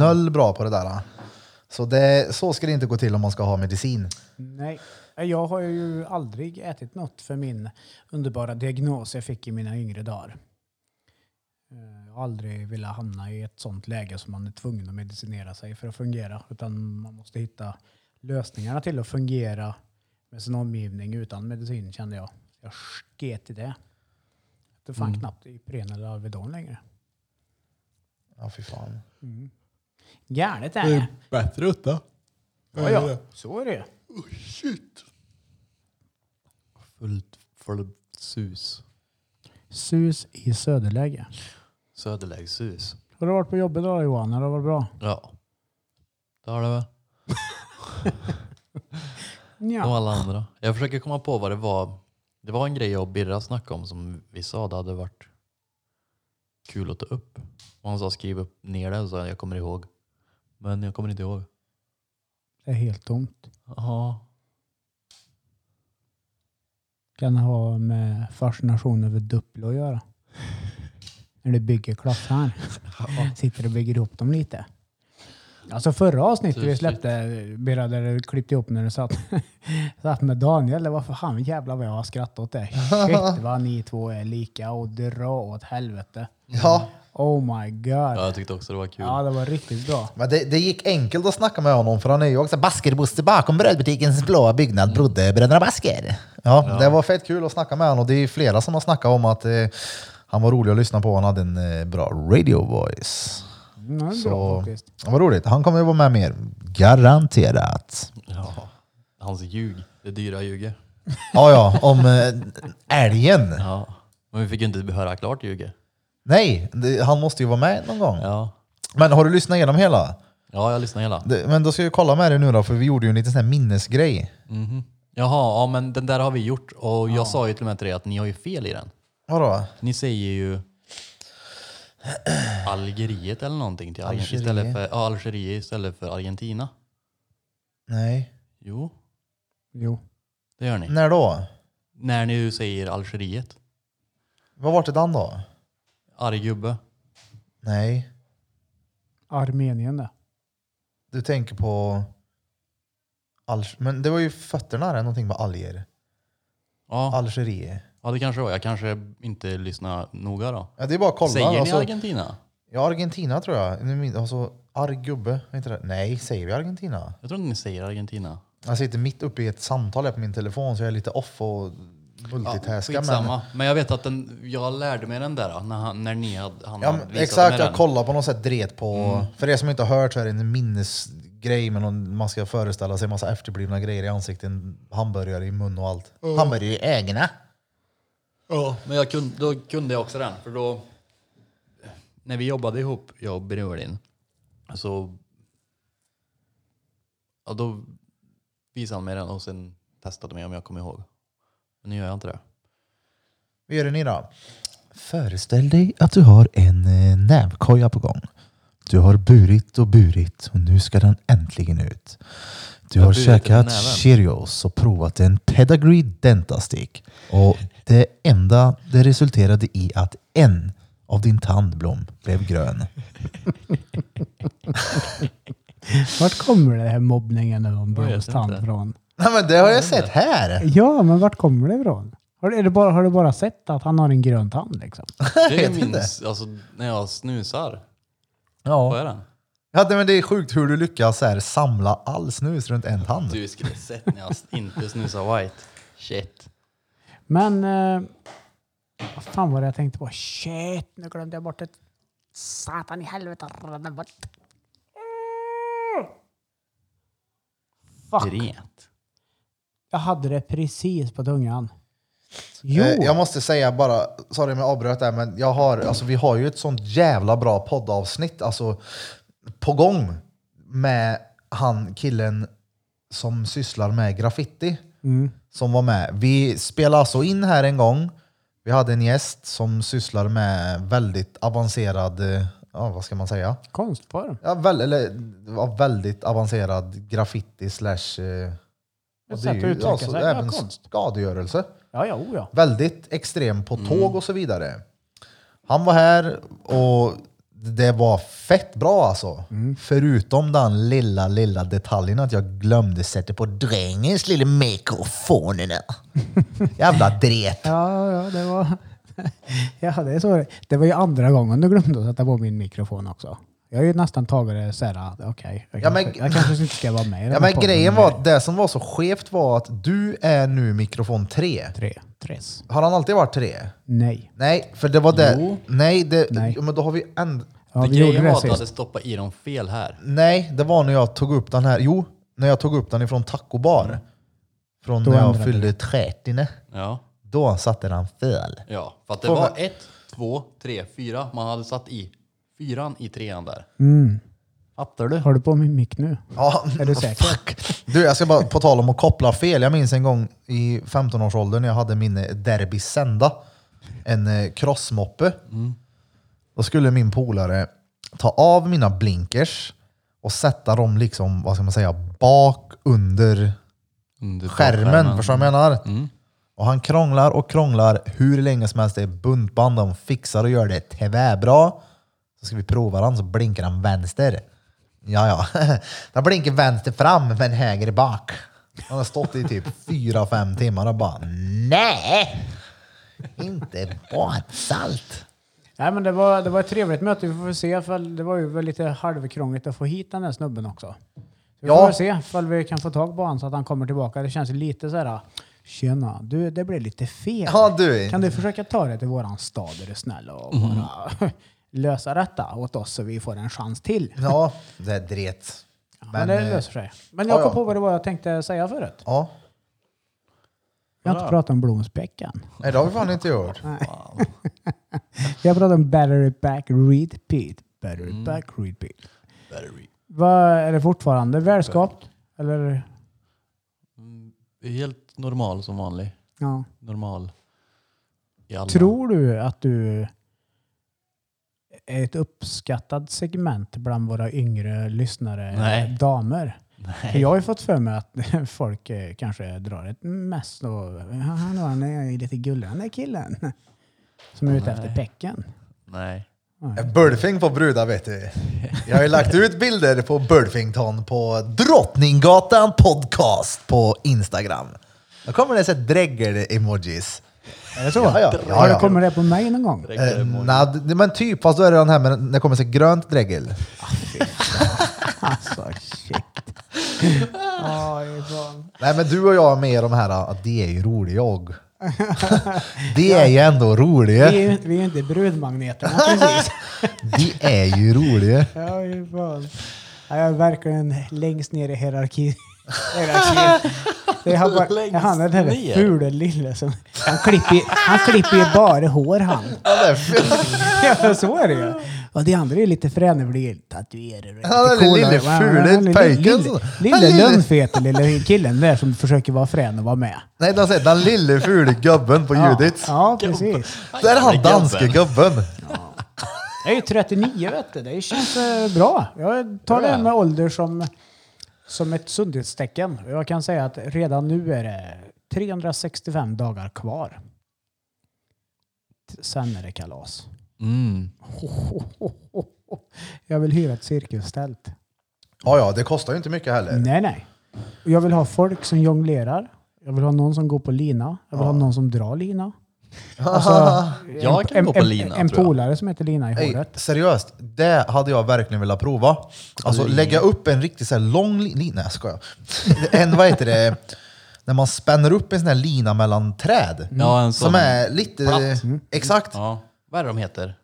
Speaker 1: noll bra på det där. Så, det, så ska det inte gå till om man ska ha medicin.
Speaker 2: Nej, jag har ju aldrig ätit något för min underbara diagnos jag fick i mina yngre dagar. Eh, Jag har aldrig velat hamna i ett sånt läge som man är tvungen att medicinera sig för att fungera. Utan man måste hitta lösningarna till att fungera med sin omgivning utan medicin kände jag. Jag sket i det. Det fanns knappt Ipren eller Alvedon längre.
Speaker 1: Ja, fy fan.
Speaker 2: Galet är det.
Speaker 3: Bättre utta.
Speaker 2: Ja, ja, så är det.
Speaker 3: Fullt full sus.
Speaker 2: Sus i söderläge.
Speaker 3: Söderlägssus.
Speaker 2: Har du varit på jobbet idag Johan? Har det varit bra?
Speaker 3: Ja. Det har det väl.
Speaker 2: Ja.
Speaker 3: Och alla andra. Jag försöker komma på vad det var. Det var en grej jag och Birra snackade om som vi sa det hade varit kul att ta upp. Och han sa skriv upp ner det och sa jag kommer ihåg. Men jag kommer inte ihåg.
Speaker 2: Det är helt tomt.
Speaker 3: Jaha.
Speaker 2: Kan ha med fascination över Duplo att göra. När du bygger klossar. Sitter och bygger ihop dem lite. Alltså förra avsnittet vi
Speaker 3: Tusligt.
Speaker 2: släppte, Birra, där du klippte ihop när du satt, satt med Daniel, det var för fan jävlar vad jag har skrattat åt det. Shit vad ni två är lika och dra åt helvete.
Speaker 1: Ja,
Speaker 2: Oh my
Speaker 3: Ja,
Speaker 2: god.
Speaker 3: jag tyckte också det var kul.
Speaker 2: Ja, det var riktigt bra.
Speaker 1: men det, det gick enkelt att snacka med honom för han är ju också Baskerbuster bakom brödbutikens blåa byggnad brodde Bröderna Basker. Ja, det var fett kul att snacka med honom och det är flera som har snackat om att eh, han var rolig att lyssna på. Han hade en eh, bra radio voice.
Speaker 2: Mm, det var bra
Speaker 1: Så
Speaker 2: faktiskt.
Speaker 1: det var roligt. Han kommer ju vara med mer. Garanterat.
Speaker 3: Ja. Hans ljug. Det dyra ljuget.
Speaker 1: Ja, ja, om eh, älgen.
Speaker 3: Ja. Men vi fick ju inte höra klart ljuget.
Speaker 1: Nej, det, han måste ju vara med någon gång.
Speaker 3: Ja.
Speaker 1: Men har du lyssnat igenom hela?
Speaker 3: Ja, jag lyssnade hela.
Speaker 1: Det, men då ska jag kolla med dig nu då, för vi gjorde ju en liten sån här minnesgrej.
Speaker 3: Mhm. Jaha, ja men den där har vi gjort och jag sa ju till och med till dig att ni har ju fel i den.
Speaker 1: Vadå?
Speaker 3: Ni säger ju Algeriet eller någonting till Algeriet.
Speaker 1: Algeriet.
Speaker 3: Istället för, ja, Algeriet istället för Argentina.
Speaker 1: Nej.
Speaker 3: Jo,
Speaker 2: Jo.
Speaker 3: det gör ni.
Speaker 1: När då?
Speaker 3: När ni ju säger Algeriet.
Speaker 1: Vad vart det den då?
Speaker 3: Arg gubbe.
Speaker 1: Nej.
Speaker 2: Armenien det.
Speaker 1: Du tänker på... Al men det var ju fötterna där, någonting med alger.
Speaker 3: Ja,
Speaker 1: Algeriet.
Speaker 3: ja, det kanske var. Jag kanske inte lyssnar noga då.
Speaker 1: Ja, det är bara att kolla.
Speaker 3: Säger ni
Speaker 1: alltså,
Speaker 3: Argentina?
Speaker 1: ja, Argentina tror jag. Nu min- Alltså, arggubbe. vad heter det? Nej, säger vi Argentina?
Speaker 3: Jag tror inte ni säger Argentina.
Speaker 1: Jag sitter mitt uppe i ett samtal här på min telefon så jag är lite off och multitaskar. men-
Speaker 3: skitsamma. Men jag vet att den, jag lärde mig den där när, han, när ni hade, han
Speaker 1: Ja, men
Speaker 3: hade visat mig
Speaker 1: exakt,
Speaker 3: den. Mm.
Speaker 1: jag kollar på något sätt dret på... För er som inte har hört så är det en minnesgrej med någon, man ska föreställa sig massa efterblivna grejer i ansikten, hamburgare i mun och allt.
Speaker 3: Mm.
Speaker 1: Hamburgare i ögonen.
Speaker 3: Ja, men jag kunde, då kunde jag också den. För då, när vi jobbade ihop, jag och Brolin, så ja, då visade han mig den och sen testade mig om jag kom ihåg. Men nu gör jag inte det.
Speaker 1: Vad gör ni då? Föreställ dig att du har en eh, nävkoja på gång. Du har burit och burit och nu ska den äntligen ut. Du
Speaker 3: Jag
Speaker 1: har
Speaker 3: burit den
Speaker 1: käkat
Speaker 3: näven.
Speaker 1: Cheerios och provat en Pedigree Dentastick. Och det enda det resulterade i att en av din tandblom blev grön.
Speaker 2: Vart kommer det här mobbningen nu om
Speaker 3: Jag vet
Speaker 2: Brås tand
Speaker 3: inte.
Speaker 2: från?
Speaker 1: Nej men det har jag sett här!
Speaker 2: Ja, men vart kommer det ifrån? Har, du- är det bara, har du bara sett att han har en grön tand liksom?
Speaker 3: Det minns, alltså när jag snusar, får
Speaker 1: Ja.
Speaker 3: jag den?
Speaker 1: ja men det är sjukt hur du lyckas så här, samla all snus runt en tand.
Speaker 3: Du skulle sett när jag inte snusar white. Shit.
Speaker 2: Men... Eh, vad fan var det jag tänkte på? Shit, nu glömde jag bort ett... Satan i helvete. Fuck,
Speaker 3: Dret.
Speaker 2: jag hade det precis på tungan. Jo,
Speaker 1: Eh, Jag måste säga bara, sorry om jag avbröt där, men jag har, alltså, vi har ju ett sånt jävla bra poddavsnitt alltså, på gång med han killen som sysslar med graffiti
Speaker 2: Mm.
Speaker 1: som var med. Vi spelade alltså in här en gång. Vi hade en gäst som sysslar med väldigt avancerad, eh, ja, vad ska man säga?
Speaker 2: konstform.
Speaker 1: Ja, väl, eller, ja, väldigt avancerad graffiti slash... eh, och
Speaker 2: Ett
Speaker 1: det är
Speaker 2: sätt att
Speaker 1: ju,
Speaker 2: uttrycka
Speaker 1: ja, så
Speaker 2: sig, ja,
Speaker 1: även
Speaker 2: konst.
Speaker 1: skadegörelse.
Speaker 2: Ja, ja, oh, ja.
Speaker 1: Väldigt extrem på
Speaker 2: Mm.
Speaker 1: tåg och så vidare. Han var här och det var fett bra alltså.
Speaker 2: Mm.
Speaker 1: Förutom den lilla, lilla detaljen att jag glömde sätta på drängens lilla mikrofonerna. Jävla dret.
Speaker 2: Ja, ja, det var... ja, det är så. Det var ju andra gången du glömde att sätta på min mikrofon också. Jag har ju nästan tagit det så här, okej, jag,
Speaker 1: Ja,
Speaker 2: kanske-
Speaker 1: men-
Speaker 2: jag kanske inte ska vara med i den
Speaker 1: Ja,
Speaker 2: här
Speaker 1: men
Speaker 2: podden.
Speaker 1: grejen var att det som var så skevt var att du är nu mikrofon tre.
Speaker 2: Tre. Tres.
Speaker 1: Har han alltid varit tre?
Speaker 2: Nej.
Speaker 1: Nej, för det var det.
Speaker 3: Jo.
Speaker 1: Nej, det,
Speaker 2: Nej.
Speaker 1: men då har vi änd...
Speaker 2: Ja,
Speaker 3: det
Speaker 2: vi gjorde
Speaker 3: grejen
Speaker 2: det
Speaker 3: var att du
Speaker 2: sist.
Speaker 3: hade stoppat i dem fel här.
Speaker 1: Nej, det var när jag tog upp den här. Jo, när jag tog upp den ifrån Taco Bar. Från
Speaker 2: Mm. Då
Speaker 1: när jag
Speaker 2: ändrade
Speaker 1: fyllde 30.
Speaker 3: Ja.
Speaker 1: Då satte den fel.
Speaker 3: Ja, för att det
Speaker 1: Får
Speaker 3: var
Speaker 1: man-
Speaker 3: ett, två, tre, fyra. Man hade satt i fyran i trean där. Fattar du?
Speaker 2: Mm. Har du på min mick nu?
Speaker 1: Ja,
Speaker 2: Är du säker?
Speaker 1: Fuck. Du, jag ska bara på tal om att koppla fel. Jag minns en gång i 15-årsåldern när jag hade min eh, Derby Senda. En eh, crossmoppe.
Speaker 2: Mm.
Speaker 1: Då skulle min polare ta av mina blinkers och sätta dem liksom, vad ska man säga, bak under
Speaker 3: Under
Speaker 1: skärmen. Förstår du vad jag menar? Och han krånglar och krånglar hur länge som helst. Det är buntband, de fixar och gör det tvärbra. Så ska vi prova den, så blinkar han vänster. Ja, ja. Den blinkar vänster fram men höger bak. Han har stått i typ fyra fem timmar och bara nej! Inte badsalt.
Speaker 2: Nej, men det var, det var ett trevligt möte. Vi får väl se. För det var ju väl lite halvkrångligt att få hit den där snubben också. Så vi
Speaker 1: Ja.
Speaker 2: får väl se ifall vi kan få tag på honom så att han kommer tillbaka. Det känns ju lite så här. Tjena, du, det blev lite fel.
Speaker 1: Ja, du.
Speaker 2: Kan du försöka ta det till våran stad är du snäll och
Speaker 1: Mm.
Speaker 2: bara lösa detta åt oss så vi får en chans till.
Speaker 1: Ja, det är dret.
Speaker 2: Ja,
Speaker 1: Men,
Speaker 2: men, det
Speaker 1: eh,
Speaker 2: löser sig. Men
Speaker 1: ja,
Speaker 2: jag kom
Speaker 1: ja.
Speaker 2: på vad det var jag tänkte säga förut.
Speaker 1: Ja,
Speaker 2: Vi har inte pratat om Bloomsbäcken.
Speaker 1: nej, det har vi fan inte gjort.
Speaker 2: Vi har pratat om Battery Back Read Pete. Battery
Speaker 1: Mm.
Speaker 2: Back Read Pete.
Speaker 3: Battery.
Speaker 2: Vad är det fortfarande? Välskapt? Eller?
Speaker 3: Helt normal som vanlig.
Speaker 2: Ja.
Speaker 3: Normal. I alla-
Speaker 2: Tror du att du är ett uppskattat segment bland våra yngre lyssnare,
Speaker 3: Nej.
Speaker 2: damer? För
Speaker 3: Nej.
Speaker 2: Jag har ju fått för mig att folk eh, kanske drar ett mest och han har- han är ju lite gullig den där killen. Som är ute efter pecken.
Speaker 3: Nej.
Speaker 1: Bulfing på brudar vet du. Jag har ju lagt ut bilder på Bulfington på Drottninggatan podcast på Instagram. Då kommer det så här dregel-emojis. Är det så? Ja, ja. ja,
Speaker 2: Har det
Speaker 1: ja.
Speaker 2: kommit det på mig någon gång?
Speaker 1: Eh, nej, det- men typ, fast då är det den här med när det kommer så här grönt dregel.
Speaker 2: Alltså shit.
Speaker 1: Nej men du och jag med i de här, ah, det är ju roliga jag. det är ju ändå roliga.
Speaker 2: Vi är ju vi är ju inte brudmagneterna precis.
Speaker 1: De är ju roliga.
Speaker 2: Ja, fy fan. Ja, jag är verkligen längst ner i hierarki. hierarkin. Det är bara,
Speaker 3: Längst
Speaker 2: han är den där
Speaker 3: ner?
Speaker 2: fule lille som... Han klipper, ju- han klipper ju bara hår han.
Speaker 1: Ja, det är f-
Speaker 2: Ja, så är det ju. Och de andra är lite fräna för de är tatuerade. och lite
Speaker 1: Ja, den
Speaker 2: coola.
Speaker 1: lille
Speaker 2: Ja,
Speaker 1: fule
Speaker 2: den lille-
Speaker 1: pöjken
Speaker 2: lille-
Speaker 1: som-
Speaker 2: Lille,
Speaker 1: den lille-
Speaker 2: lönnfete lille killen där som försöker vara frän och vara med.
Speaker 1: Nej, de säger den lille fule gubben på Judits.
Speaker 2: Ja, ja, precis.
Speaker 1: Där är han
Speaker 3: Jävla gubben.
Speaker 1: danske gubben.
Speaker 2: Jag är ju 39 vet du. Det känns eh, bra. Jag tar det här med ålder som, som ett sundhetstecken. Jag kan säga att redan nu är det 365 dagar kvar. T- Sen är det kalas.
Speaker 3: Mm.
Speaker 2: Jag vill hyra ett cirkustält.
Speaker 3: Eh.
Speaker 1: Ja, ja, det kostar ju inte mycket heller.
Speaker 2: Nej, nej. Och Jag vill ha folk som jonglerar. Jag vill ha någon som går på lina. Jag vill ha någon som drar lina. Alltså,
Speaker 3: Jag kan gå på lina,
Speaker 2: En, en
Speaker 3: tror jag.
Speaker 2: polare som heter Lina i
Speaker 1: Nej,
Speaker 2: håret.
Speaker 1: seriöst, det hade jag verkligen velat prova. Alltså lägga upp en riktigt så här lång lina. Nej, jag skojar. En, vad heter det? När man spänner upp en sån här lina mellan träd.
Speaker 2: Mm.
Speaker 3: Ja, en sån.
Speaker 1: Som är lite... Mm.
Speaker 3: Platt.
Speaker 1: Exakt.
Speaker 3: Ja. Vad är det de heter?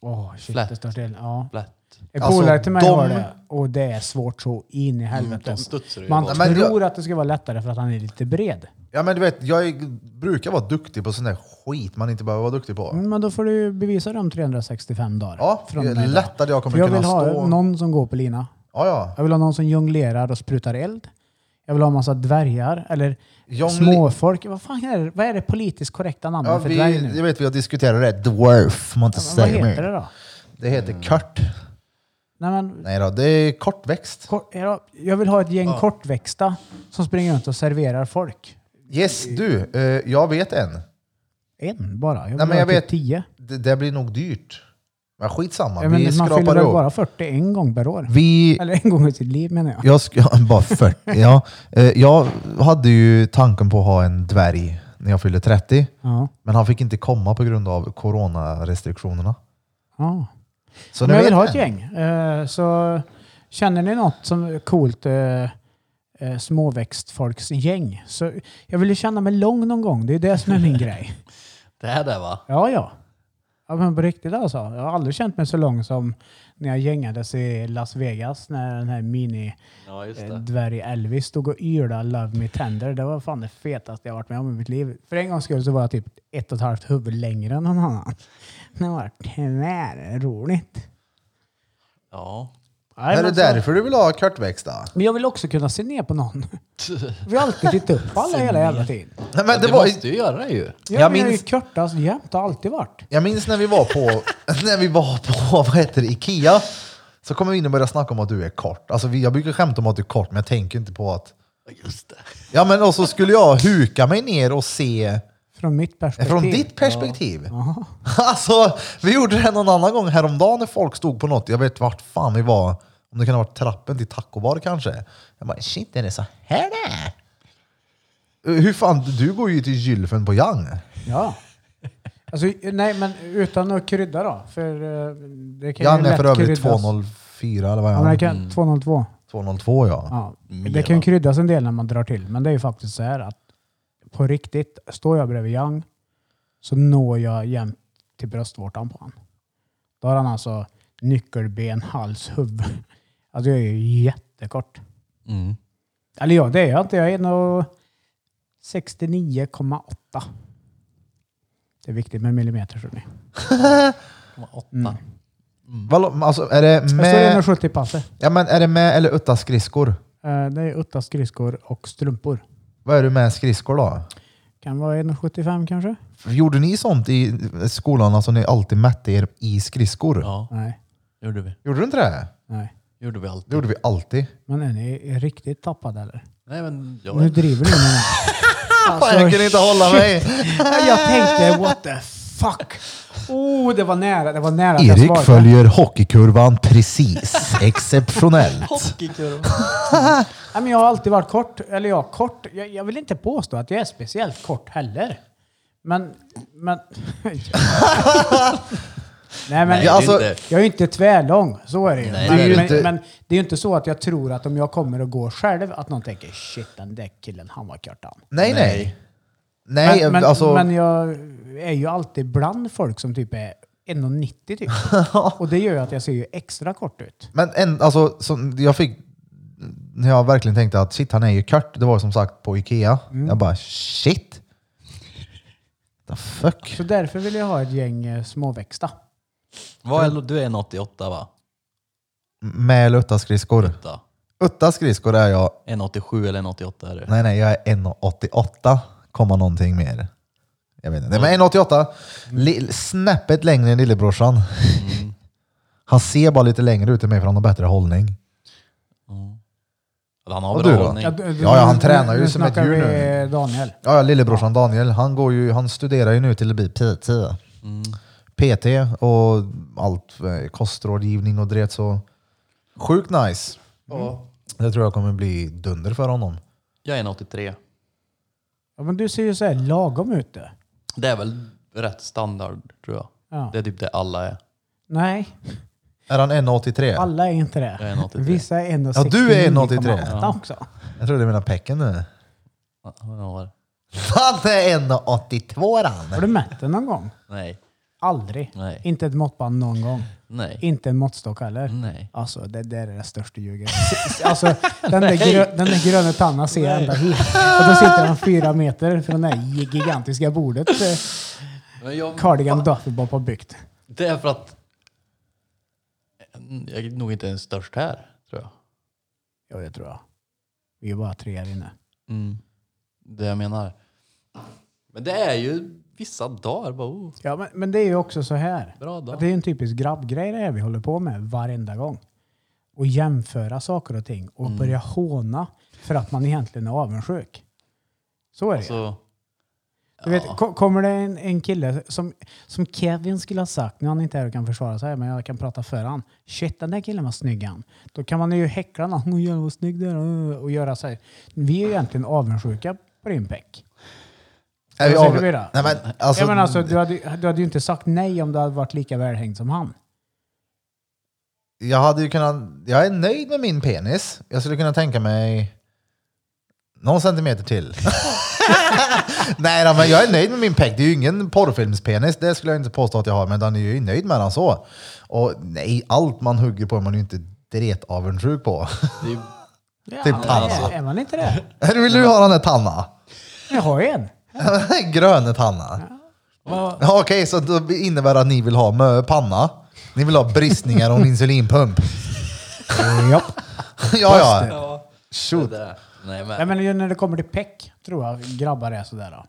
Speaker 2: Åh, shit,
Speaker 3: Flat.
Speaker 2: det står still. Ja.
Speaker 3: Platt.
Speaker 2: En
Speaker 1: Alltså,
Speaker 2: polare till mig
Speaker 1: de-
Speaker 2: har det och det är svårt så in i helvete.
Speaker 3: Mm, de studsar ju
Speaker 2: Man
Speaker 3: bort.
Speaker 1: Men
Speaker 2: tror att det ska vara lättare för att han är lite bred.
Speaker 1: Ja men du vet, jag är- brukar vara duktig på sån där skit man inte behöver vara duktig på.
Speaker 2: Mm, Men då får du ju bevisa de 365 dagar.
Speaker 1: Ja,
Speaker 2: från
Speaker 1: det är
Speaker 2: och med idag.
Speaker 1: lättare jag kommer
Speaker 2: För jag
Speaker 1: kunna
Speaker 2: vill ha
Speaker 1: stå-
Speaker 2: någon som går på lina.
Speaker 1: Ja, ja.
Speaker 2: Jag vill ha någon som jonglerar och sprutar eld. Jag vill ha en massa dvärgar eller
Speaker 1: Jongle-
Speaker 2: småfolk. Vad fan är det, vad är det politiskt korrekta namnet
Speaker 1: ja
Speaker 2: för
Speaker 1: vi,
Speaker 2: dvärg nu?
Speaker 1: jag vet, vi har diskuterat det. Dwarf, man inte
Speaker 2: Men
Speaker 1: säga
Speaker 2: vad heter
Speaker 1: mer.
Speaker 2: det då?
Speaker 1: Det heter kört.
Speaker 2: Nej, men,
Speaker 1: Nej då, det är kortväxt.
Speaker 2: kor- ja, jag vill ha ett gäng kortväxta som springer runt och serverar folk.
Speaker 1: Yes, du. eh, jag vet en.
Speaker 2: En bara. Jag vill
Speaker 1: men
Speaker 2: ha
Speaker 1: jag
Speaker 2: typ
Speaker 1: vet-
Speaker 2: tio.
Speaker 1: Det, det blir nog dyrt. Men skitsamma,
Speaker 2: Ja, men
Speaker 1: vi
Speaker 2: man fyller
Speaker 1: skrapar
Speaker 2: väl
Speaker 1: ihop.
Speaker 2: bara 40 en gång per år?
Speaker 1: Vi...
Speaker 2: Eller en gång i sitt liv menar jag.
Speaker 1: Jag ska, bara 40. ja. Eh, jag hade ju tanken på att ha en dvärg när jag fyllde 30.
Speaker 2: Ja.
Speaker 1: Men han fick inte komma på grund av coronarestriktionerna.
Speaker 2: ja.
Speaker 1: Så
Speaker 2: Men
Speaker 1: nu
Speaker 2: jag
Speaker 1: vet
Speaker 2: vill ha
Speaker 1: jag.
Speaker 2: ett gäng. Eh, så känner ni något som är coolt eh, eh, småväxtfolksgäng? Så jag vill ju känna mig lång någon gång. Det är det som är min grej.
Speaker 3: Det här där va?
Speaker 2: Ja, ja. Ja, men på riktigt alltså. Jag har aldrig känt mig så lång som när jag gängades i Las Vegas när den här mini
Speaker 3: Ja, just
Speaker 2: eh, dvärg Elvis stod och yrade Love Me Tender. Det var fan det fetaste jag varit med om i mitt liv. För en gångs skull så var jag typ ett och ett halvt huvud längre än någon annan. Det var tvärroligt.
Speaker 3: Ja.
Speaker 2: Nej,
Speaker 1: är det
Speaker 2: men så-
Speaker 1: därför du vill ha kortväxt då?
Speaker 2: Men jag vill också kunna se ner på någon. Vi har alltid tittat upp på alla hela jävla tiden.
Speaker 1: Nej, men
Speaker 3: Men
Speaker 1: det
Speaker 3: det
Speaker 1: var,
Speaker 3: måste ju göra det ju.
Speaker 2: Jag,
Speaker 1: Jag
Speaker 2: jag är ju
Speaker 1: minns-
Speaker 2: kortast jämt, har alltid varit.
Speaker 1: jag minns när vi var på, när vi var på vad heter det, Ikea. Så kommer vi in och börjar snacka om att du är kort. Alltså, vi, jag brukar skämta om att du är kort, men jag tänker inte på att...
Speaker 3: Just det.
Speaker 1: Ja, men och så skulle jag huka mig ner och se
Speaker 2: Från mitt perspektiv.
Speaker 1: från ditt perspektiv. alltså, vi gjorde det någon annan gång häromdagen när folk stod på något. Jag vet vart fan vi var. Om det kan ha varit trappen till tacobar kanske. Jag bara, shit är det så här det är? Eh, Hur fan, du går ju till gylfen på Young.
Speaker 2: Ja. Alltså, nej, men utan att krydda då. För eh, det kan
Speaker 1: Young
Speaker 2: ju lätt
Speaker 1: är för övrigt Mm.
Speaker 2: kryddas.
Speaker 1: 204 eller vad är
Speaker 2: Ja, men det
Speaker 1: han?
Speaker 2: kan, 202.
Speaker 1: 202 ja.
Speaker 2: Ja.
Speaker 3: Mer,
Speaker 2: Det kan ju
Speaker 3: va?
Speaker 2: kryddas en del när man drar till, men det är ju faktiskt så här att på riktigt, står jag bredvid Young så når jag jämt till bröstvårtan på honom. Då har han alltså nyckelben, hals, huvud. Alltså jag är ju jättekort.
Speaker 3: Mm.
Speaker 2: Eller ja, det är jag inte. Jag är 1,69,8. Det är viktigt med millimeter, tror ni.
Speaker 3: Åtta.
Speaker 1: Vadå, alltså, är det
Speaker 2: Jag står
Speaker 1: med,
Speaker 2: 1,70 passet.
Speaker 1: ja, men är det med eller utan skridskor?
Speaker 2: Eh, Det är utta skridskor och strumpor.
Speaker 1: Vad är du med skridskor då?
Speaker 2: Kan vara 1,75 kanske?
Speaker 1: Gjorde ni sånt i skolan, alltså ni alltid mätte er i skridskor?
Speaker 3: Ja,
Speaker 2: Nej,
Speaker 3: gjorde vi.
Speaker 1: Gjorde du inte det?
Speaker 2: nej.
Speaker 3: Gjorde vi alltid.
Speaker 1: Det gjorde vi alltid.
Speaker 2: Men är ni riktigt tappade eller?
Speaker 3: Nej, men jag
Speaker 2: Nu driver du med mig.
Speaker 1: Fan, jag kunde inte hålla mig.
Speaker 2: Jag tänkte what the fuck. Oh, det var nära. Det var nära att jag
Speaker 1: Erik
Speaker 2: svarade.
Speaker 1: följer hockeykurvan precis. Exceptionellt.
Speaker 3: Hockeykurva.
Speaker 2: Nej, men jag har alltid varit kort. Eller ja, kort. Jag, jag vill inte påstå att jag är speciellt kort heller. Men... men Nej, men
Speaker 3: Nej,
Speaker 1: Ja,
Speaker 3: ja,
Speaker 1: alltså-
Speaker 3: alltså, inte.
Speaker 2: jag är ju inte tvärlång. Så är det ju.
Speaker 3: Nej,
Speaker 2: men,
Speaker 3: det är du
Speaker 2: men,
Speaker 1: inte.
Speaker 2: men det är ju inte så att jag tror att om jag kommer och går själv att någon tänker shit den där killen han var kort han.
Speaker 1: Nej, nej.
Speaker 3: Nej.
Speaker 1: Nej,
Speaker 2: men, men,
Speaker 1: alltså.
Speaker 2: men jag är ju alltid bland folk som typ är 1,90 typ. och det gör ju att jag ser ju extra kort ut.
Speaker 1: Men en, alltså, som jag fick, när jag verkligen tänkte att shit, han är ju kört. Det var som sagt på Ikea. Jag bara shit. The fuck?
Speaker 2: Så därför vill jag ha ett gäng eh, småväxta.
Speaker 3: Vad är, du är en 88 va?
Speaker 1: Med eller utan skridskor?
Speaker 3: Åtta.
Speaker 1: Utan skridskor är jag,
Speaker 3: En 87 eller en 88 är det.
Speaker 1: nej nej, jag är 1,88, komma någonting mer. Jag vet inte. Men 1,88, li- snäppet längre än lillebrorsan. Han ser bara lite längre ut än mig för han har bättre hållning.
Speaker 3: Eller Han har
Speaker 1: Och
Speaker 3: bra
Speaker 1: du då?
Speaker 3: hållning.
Speaker 2: d-
Speaker 1: Ja, ja, han tränar ju
Speaker 2: nu
Speaker 1: som ett
Speaker 2: snackar
Speaker 1: djur
Speaker 2: vi,
Speaker 1: nu.
Speaker 2: eh, Daniel.
Speaker 1: Ja, ja lillebrorsan Daniel, han, går ju, han studerar ju nu till att bli PT. PT och allt, eh, kostrådgivning och det så sjukt nice. Det tror jag kommer bli dunder för honom.
Speaker 3: Jag är en 83.
Speaker 2: Ja, men du ser ju så här lagom ut du.
Speaker 3: Det är väl rätt standard tror jag.
Speaker 2: Ja.
Speaker 3: Det är typ det alla är.
Speaker 2: Nej,
Speaker 1: Är han 1,83?
Speaker 2: alla är inte det.
Speaker 3: Jag är en 83.
Speaker 2: Vissa är 1,69,8
Speaker 1: Ja, du är en 83.
Speaker 2: också.
Speaker 1: Jag tror det är mina pecken nu.
Speaker 3: Ja, men jag har-
Speaker 1: Han är 1,82
Speaker 2: Har
Speaker 1: han!
Speaker 2: du mätt den någon gång?
Speaker 3: Nej,
Speaker 2: Aldrig.
Speaker 3: Nej.
Speaker 2: Inte ett måttband någon gång.
Speaker 3: nej, Mm.
Speaker 2: Inte en måttstock heller.
Speaker 3: nej.
Speaker 2: Alltså det där är det största ljuget. Alltså den där, grö, den där gröna tanna ser jag ända hit. Och då sitter han fyra meter från det här gigantiska bordet eh,
Speaker 3: Men jag,
Speaker 2: Cardigan Duffelbob har byggt.
Speaker 3: det är för att jag är nog inte ens störst här tror jag.
Speaker 2: Ja, det tror jag. Vi är bara tre här inne.
Speaker 3: Mm. Det jag menar. Men det är ju vissa dagar bara oh,
Speaker 2: Ja, men, men det är ju också så här.
Speaker 3: bra dag.
Speaker 2: Att det är en typisk grabbgrej det här vi håller på med varenda gång. Och jämföra saker och ting och börja håna för att man egentligen är avundsjuk. Så är det ju.
Speaker 3: Så,
Speaker 2: Du vet, ko- kommer det en, en kille som, som Kevin skulle ha sagt, nu är han inte här och kan försvara sig, men jag kan prata för han. Shit, den där killen var snygg han. Då kan man ju häckla honom. Åh jävlar vad snygg du är. Åh, Och göra så här. Vi är ju egentligen avundsjuka på din peck.
Speaker 1: Är vi
Speaker 2: Vad säger
Speaker 1: av-
Speaker 2: du, Bira?
Speaker 1: Nej, men, alltså,
Speaker 2: ja, men alltså, du, hade, ju- du hade ju inte sagt nej om du hade varit lika välhängd som han.
Speaker 1: Jag hade ju kunnat, jag är nöjd med min penis. Jag skulle kunna tänka mig någon centimeter till. Nej då, men jag är nöjd med min peck. Det är ju ingen porrfilmspenis, det skulle jag inte påstå att jag har, men den är ju nöjd med den så. Och nej, allt man hugger på är man ju inte dretavundsjuk på.
Speaker 3: det är ju,
Speaker 2: Ja,
Speaker 1: Typ
Speaker 2: men
Speaker 1: han,
Speaker 2: är-
Speaker 1: alltså.
Speaker 2: Är man inte det?
Speaker 1: Eller vill du ha den här tanna?
Speaker 2: Jag har ju en.
Speaker 1: Gröne tanna.
Speaker 3: vad,
Speaker 1: Ja, Okej, så det innebär att ni vill ha mö panna. Ni vill ha bristningar och en insulinpump.
Speaker 2: Japp.
Speaker 1: ja, ja.
Speaker 3: ja,
Speaker 1: Shoot.
Speaker 3: det där. Nej, men,
Speaker 2: Nej, men ju när det kommer till peck tror jag grabbar är sådär. Då.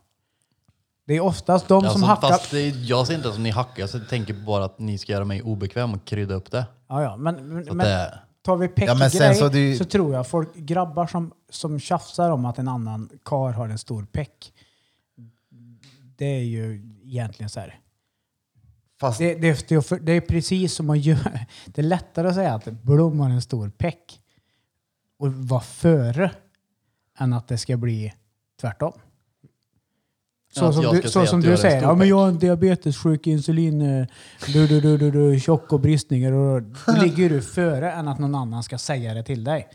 Speaker 2: Det är oftast de
Speaker 3: alltså,
Speaker 2: som hackar.
Speaker 3: Fast det, är- jag ser inte ens om ni hackar, jag tänker bara att ni ska göra mig obekväm och krydda upp det.
Speaker 2: Ja, ja, men, men,
Speaker 3: Så att
Speaker 2: men
Speaker 3: det
Speaker 2: tar vi peck
Speaker 1: Ja, men sen
Speaker 2: grej,
Speaker 1: så
Speaker 2: så,
Speaker 1: det är ju-
Speaker 2: tror jag folk, grabbar som, som tjafsar om att en annan kar har en stor peck. Det är ju egentligen så här.
Speaker 1: Fast
Speaker 2: Det, det, det, för- det är precis som att göra... Det är lättare att säga att Blom har en stor peck och vara före än att det ska bli tvärtom.
Speaker 3: Än
Speaker 2: Så
Speaker 3: att
Speaker 2: som
Speaker 3: jag
Speaker 2: du,
Speaker 3: ska
Speaker 2: så
Speaker 3: säga
Speaker 2: som
Speaker 3: att
Speaker 2: du
Speaker 3: jag är en
Speaker 2: säger,
Speaker 3: stor
Speaker 2: ja, men
Speaker 3: peck."
Speaker 2: jag har en diabetessjuk insulin, eh, du, du, du, du, du, tjock och bristningar. Och, då ligger du före än att någon annan ska säga det till dig.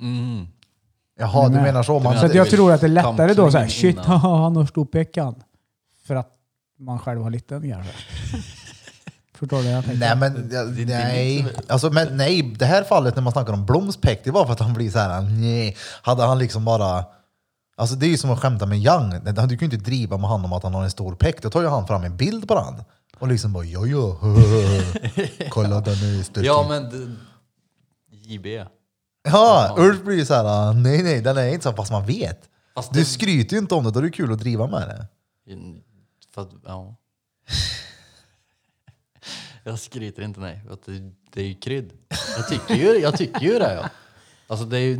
Speaker 3: Mm.
Speaker 1: Jaha, du
Speaker 2: Nej.
Speaker 1: menar så. Man,
Speaker 3: menar
Speaker 2: Så att
Speaker 3: det
Speaker 2: jag
Speaker 3: är
Speaker 2: tror att det är
Speaker 3: väl
Speaker 2: lättare då. Så här,
Speaker 3: kampen
Speaker 2: shit,
Speaker 3: innan.
Speaker 2: haha, han har stor peckan. För att man själv har liten kanske. Förstår du vad jag tänker?
Speaker 1: nej, men, ja, nej. Alltså, men nej, det här fallet när man snackar om Bloms peck, det var för att han blir så här, nej. Hade han liksom bara... Alltså det är ju som att skämta med Young. Du kan ju inte driva med han om att han har en stor peck. Då tar ju han fram en bild på den. Och liksom bara, ja ja, kolla den är stor.
Speaker 3: Ja, men... d- JB.
Speaker 1: Ja, Ulf blir ju så här, nej nej, den är inte så fast man vet.
Speaker 3: Fast
Speaker 1: Du
Speaker 3: det-
Speaker 1: skryter ju inte om det, då är det kul att driva med det.
Speaker 3: Mm, Fast, ja. Jag skryter inte nej. Att Det, det är ju krydd. Jag tycker ju, jag tycker ju det. Ja. Alltså det är ju...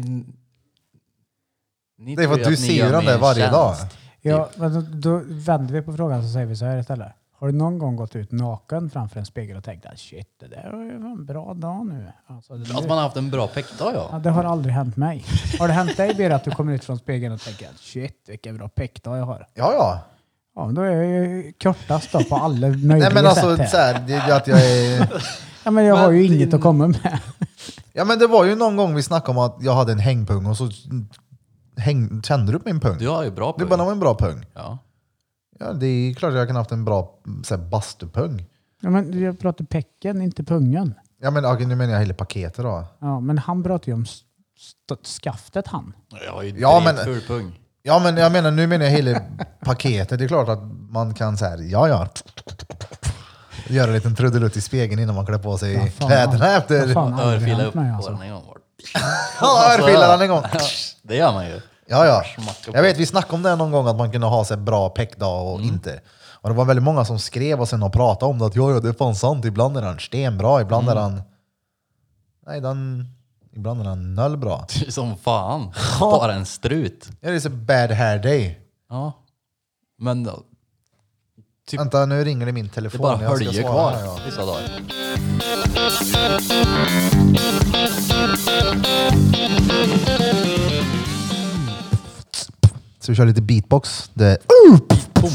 Speaker 3: Ni
Speaker 1: Det är för
Speaker 3: tror
Speaker 1: att du
Speaker 3: ni
Speaker 1: ser
Speaker 3: gör
Speaker 1: den
Speaker 3: mig
Speaker 1: där
Speaker 3: en
Speaker 1: varje dag.
Speaker 3: tjänst.
Speaker 2: Ja,
Speaker 1: Typ.
Speaker 2: men då, då vänder vi på frågan så säger vi så här istället. Har du någon gång gått ut naken framför en spegel och tänkt att shit, det där var ju en bra dag nu. Alltså, det,
Speaker 3: Att man har haft en bra peckdag
Speaker 2: ja,
Speaker 3: ja.
Speaker 2: det har aldrig hänt mig. Har det hänt dig Birre att du kommer ut från spegeln och tänker att shit, vilken bra peckdag jag har?
Speaker 1: Ja ja.
Speaker 2: Ja, men då är jag ju kortast då på alla möjliga
Speaker 1: Nej men alltså
Speaker 2: sätt. här.
Speaker 1: så här, det, det att jag är...
Speaker 2: ja, men jag har ju
Speaker 3: Men
Speaker 2: inget
Speaker 3: din-
Speaker 2: att komma med.
Speaker 1: Ja men det var ju någon gång vi snackade om att jag hade en hängpung och så häng, tände du på min pung.
Speaker 3: Du har ju bra
Speaker 1: Du bara, det
Speaker 3: poäng.
Speaker 1: var en bra pung.
Speaker 3: Ja.
Speaker 1: Ja det är klart jag kan haft en bra så här, bastupung.
Speaker 2: Ja, men jag pratar pecken, inte pungen.
Speaker 1: Ja men okej, nu menar jag hela paketet då.
Speaker 2: Ja, men han pratar ju om st- st- skaftet han.
Speaker 3: Jag har ju
Speaker 1: Ja,
Speaker 3: ja,
Speaker 1: men-
Speaker 3: men... ful pung.
Speaker 1: Ja men jag menar, nu menar jag hela paketet. Det är klart att man kan så här, ja ja. Göra en liten trudelutt i spegeln innan man klär på sig
Speaker 2: Ja, fan.
Speaker 1: kläderna efter.
Speaker 2: Vad fan har aldrig
Speaker 3: Örfila
Speaker 2: hänt
Speaker 3: upp
Speaker 2: mig,
Speaker 3: håren
Speaker 2: alltså.
Speaker 3: en gång var.
Speaker 1: Ja, örfilar han en gång.
Speaker 3: Ja, Det gör man ju.
Speaker 1: Ja, ja.
Speaker 3: Smacka på.
Speaker 1: Jag vet, vi snackade om det här någon gång, att man kunde ha sig bra peckdag
Speaker 3: Mm.
Speaker 1: och inte. Och det var väldigt många som skrev och sen och pratade om det, att ja, ja, det är fan sant. Ibland är han stenbra, ibland är
Speaker 3: Mm.
Speaker 1: han... Nej, den... Ibland är han noll bra.
Speaker 3: Som fan. Bara en strut.
Speaker 1: Ja, det är så bad hair day.
Speaker 3: Ja. Men ja, Typ-
Speaker 1: Vänta, nu ringer det min
Speaker 3: det är
Speaker 1: telefon.
Speaker 3: bara
Speaker 1: Jag ska
Speaker 3: hölje
Speaker 1: svara
Speaker 3: kvar
Speaker 1: här, ja.
Speaker 3: vissa dagar.
Speaker 1: Så vi kör lite beatbox. Det... Oh!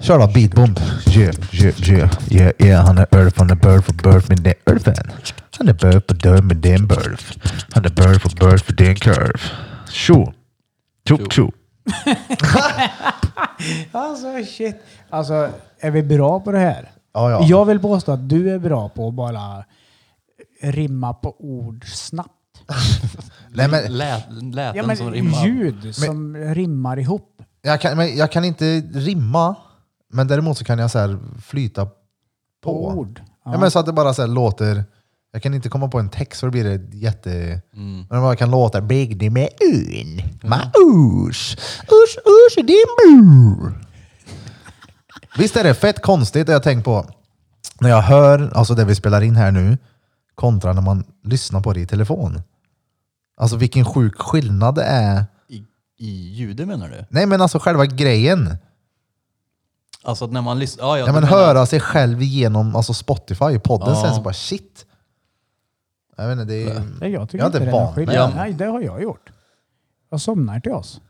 Speaker 1: Kör då, beatbomb. Yeah, yeah, yeah, yeah, yeah. Han är earth, han är bird för bird med den earthen. Han är bird för dörr med den bird. Han är bird för bird för den curve. Tjo! Tjo, tjo.
Speaker 2: Alltså shit. Alltså, är vi bra på det här?
Speaker 1: Ja, ja.
Speaker 2: Jag vill påstå att du är bra på att bara rimma på ord snabbt.
Speaker 1: Nej, men,
Speaker 3: Lät, läten
Speaker 2: Ja, men
Speaker 3: som rimmar.
Speaker 2: ljud som rimmar ihop.
Speaker 1: jag, kan, men jag kan inte rimma, men däremot så kan jag så här flyta
Speaker 2: På
Speaker 1: på.
Speaker 2: ord.
Speaker 1: Ja.
Speaker 2: Ja.
Speaker 1: men så att det bara så här låter... Jag kan inte komma på en text för då blir det jätte... Men man kan låta Big det med un. Ma us. Us, us, det är mur. Visst är det fett konstigt det jag tänkt på. När jag hör, alltså det vi spelar in här nu, kontra när man lyssnar på det i telefon. Alltså vilken sjuk skillnad det är.
Speaker 3: I, I ljudet menar du?
Speaker 1: Nej men alltså själva grejen.
Speaker 3: Alltså att när man lyssnar... Ja, jag
Speaker 1: Ja, men
Speaker 3: menar-
Speaker 1: höra sig själv igenom alltså Spotify, podden
Speaker 3: Ja.
Speaker 1: sen så bara shit. Jag vet inte, det är,
Speaker 2: Nej, jag
Speaker 1: Mm. Jag
Speaker 2: tycker
Speaker 1: är
Speaker 2: inte det
Speaker 1: inte
Speaker 2: är någon
Speaker 1: van
Speaker 2: skillnad.
Speaker 3: med det.
Speaker 2: Nej, det har jag gjort. Jag somnar till oss.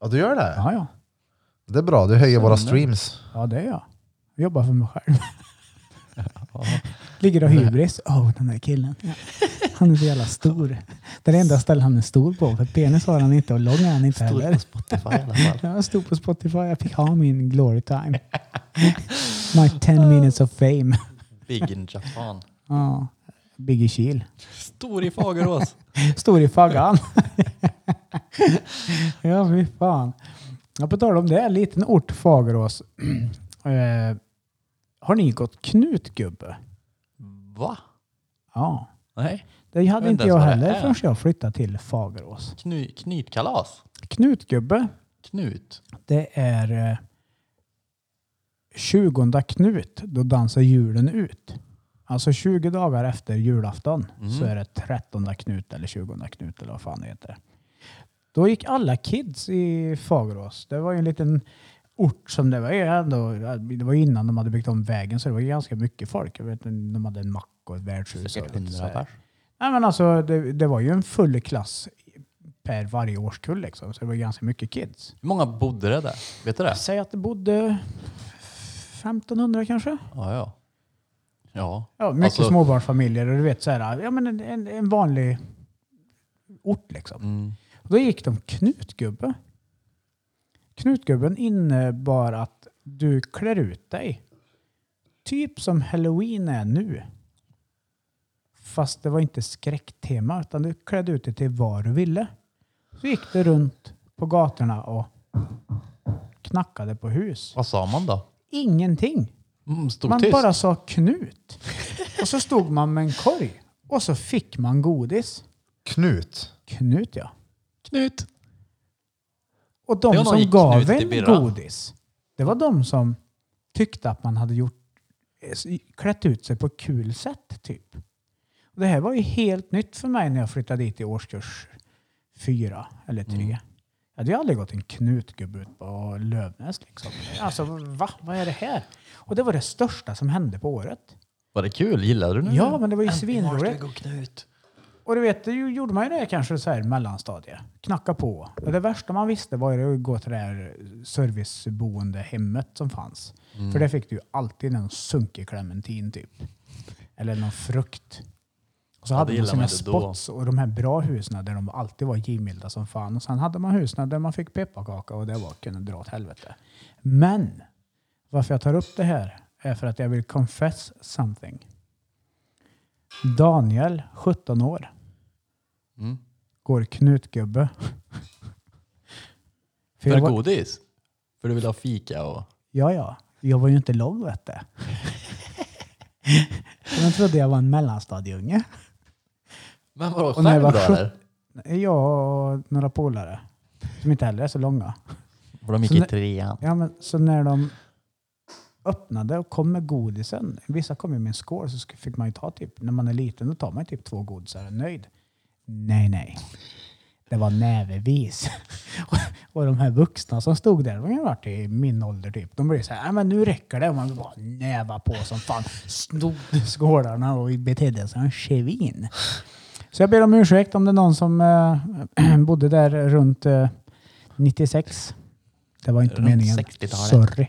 Speaker 1: Ja, du gör det?
Speaker 2: Ja, ja.
Speaker 1: Det är bra, du höjer våra streams.
Speaker 2: Ja, det är jag. Jag jobbar för mig själv. Ligger och hybris. Åh, den där killen. Ja. Han är så jävla stor. Det är det enda stället han är stor på. För penis har han inte och lång är han inte heller.
Speaker 3: Spotify i alla fall.
Speaker 2: Jag stod på Spotify. Jag fick ha min glory time. My 10 minutes of fame.
Speaker 3: Big in Japan.
Speaker 2: Ja. Biggie Kil.
Speaker 3: Stor i Fagerås.
Speaker 2: Stor i faggan. ja, fy fan. Ja, på tal om det, liten ort Fagerås. eh, har ni gått knutgubbe?
Speaker 3: Va?
Speaker 2: Ja.
Speaker 3: Nej.
Speaker 2: Det hade
Speaker 3: vet
Speaker 2: inte
Speaker 3: inte
Speaker 2: jag
Speaker 3: ens vad det
Speaker 2: heller
Speaker 3: är.
Speaker 2: förrän jag flyttade till Fagerås.
Speaker 3: Kny, knytkalas.
Speaker 2: Knutgubbe,
Speaker 3: Knut.
Speaker 2: det är eh, 20 Knut, då dansar julen ut. Alltså 20 dagar efter julafton
Speaker 3: Mhm.
Speaker 2: så är det 13 Knut eller 20 Knut eller vad fan det heter. Då gick alla kids i Fagerås. Det var ju en liten ort som det var ju ändå, det var ju innan de hade byggt om vägen så det var ju ganska mycket folk. Jag vet, inte, de hade en mack och ett värdshus. och
Speaker 3: Säkert
Speaker 2: lite så
Speaker 3: hundra
Speaker 2: här.
Speaker 3: pers.
Speaker 2: Nej, men alltså, det, det var ju en full klass per varje årskull liksom, så det var ganska mycket kids.
Speaker 3: Hur många bodde det där? Vet du det?
Speaker 2: Säg att det bodde 1500 kanske?
Speaker 3: Ja, ja. Ja.
Speaker 2: Ja, mycket
Speaker 3: Alltså-
Speaker 2: småbarnsfamiljer och du vet så här, ja, men en, en, en vanlig ort liksom.
Speaker 3: Mm.
Speaker 2: Och Då gick de knutgubbe. Knutgubben innebar att du klär ut dig. Typ som halloween är nu. Fast det var inte skräcktema utan du klädde ut dig till vad du ville. Så gick du runt på gatorna och knackade på hus.
Speaker 3: Vad sa man då?
Speaker 2: Ingenting.
Speaker 3: Mm, stod
Speaker 2: Man
Speaker 3: tyst.
Speaker 2: bara sa Knut. Och så stod man med en korg. Och så fick man godis.
Speaker 1: Knut.
Speaker 2: Knut ja.
Speaker 3: Knut.
Speaker 2: Och
Speaker 3: Det
Speaker 2: de
Speaker 3: var någon
Speaker 2: som
Speaker 3: gick
Speaker 2: gav
Speaker 3: Knut i
Speaker 2: en
Speaker 3: birra.
Speaker 2: godis, det var de som tyckte att man hade gjort, eh, klätt ut sig på ett kul sätt. typ. Och det här var ju helt nytt för mig när jag flyttade dit i årskurs fyra eller tre.
Speaker 3: Mm.
Speaker 2: Jag hade ju aldrig gått en knutgubbe ut på Lövnäs. Liksom. Alltså, va? Vad är det här? Och det var det största som hände på året.
Speaker 3: Var det kul? Gillade du det?
Speaker 2: Ja, men det var ju svinroligt.
Speaker 3: gå Knut.
Speaker 2: Och du vet, det gjorde man ju det kanske så här i mellanstadiet. Knacka på. Och det värsta man visste var ju att gå till det här serviceboendehemmet som fanns.
Speaker 3: Mm.
Speaker 2: För där fick du ju alltid någon sunkig clementin typ. Eller någon frukt. Och så
Speaker 3: Ja,
Speaker 2: hade
Speaker 3: det
Speaker 2: man
Speaker 3: gillar man
Speaker 2: sina
Speaker 3: inte då.
Speaker 2: spots och de här bra husen där de alltid var givmilda som fan. Och sen hade man husen där man fick pepparkaka och det var kunde dra åt helvete. Men varför jag tar upp det här är för att jag vill confess something. Daniel, 17 år,
Speaker 3: Mm.
Speaker 2: går knutgubbe. för
Speaker 3: För
Speaker 2: jag var,
Speaker 3: godis? För du ville ha fika och...
Speaker 2: ja, ja. Jag var ju inte lång vet du. Så De trodde jag var en mellanstadieunge.
Speaker 3: Men vadå,
Speaker 2: Och när
Speaker 3: själv
Speaker 2: jag
Speaker 3: då
Speaker 2: var sjut-
Speaker 3: eller?
Speaker 2: Jag och några polare som inte heller är så långa.
Speaker 3: För de gick
Speaker 2: Så
Speaker 1: Alltså,
Speaker 3: i
Speaker 2: när-
Speaker 3: trean.
Speaker 2: Ja, men, så när de öppnade och kom med godisen. Vissa kom ju med en skål så sk- fick man ju ta typ, när man är liten då tar man ju typ två godisar och är nöjd. Nej, nej. Det var nävevis. och, och de här vuxna som stod där, de kan ha varit i min ålder typ. De blev så här, "Nej, men nu räcker det. Och man bara näva på som fan. Snodde skålarna och betedde sig som en svin. Så jag ber om ursäkt om det är någon som eh, bodde där runt eh, 96. Det var inte
Speaker 3: Runt
Speaker 2: meningen.
Speaker 3: 60-talet.
Speaker 2: Sorry.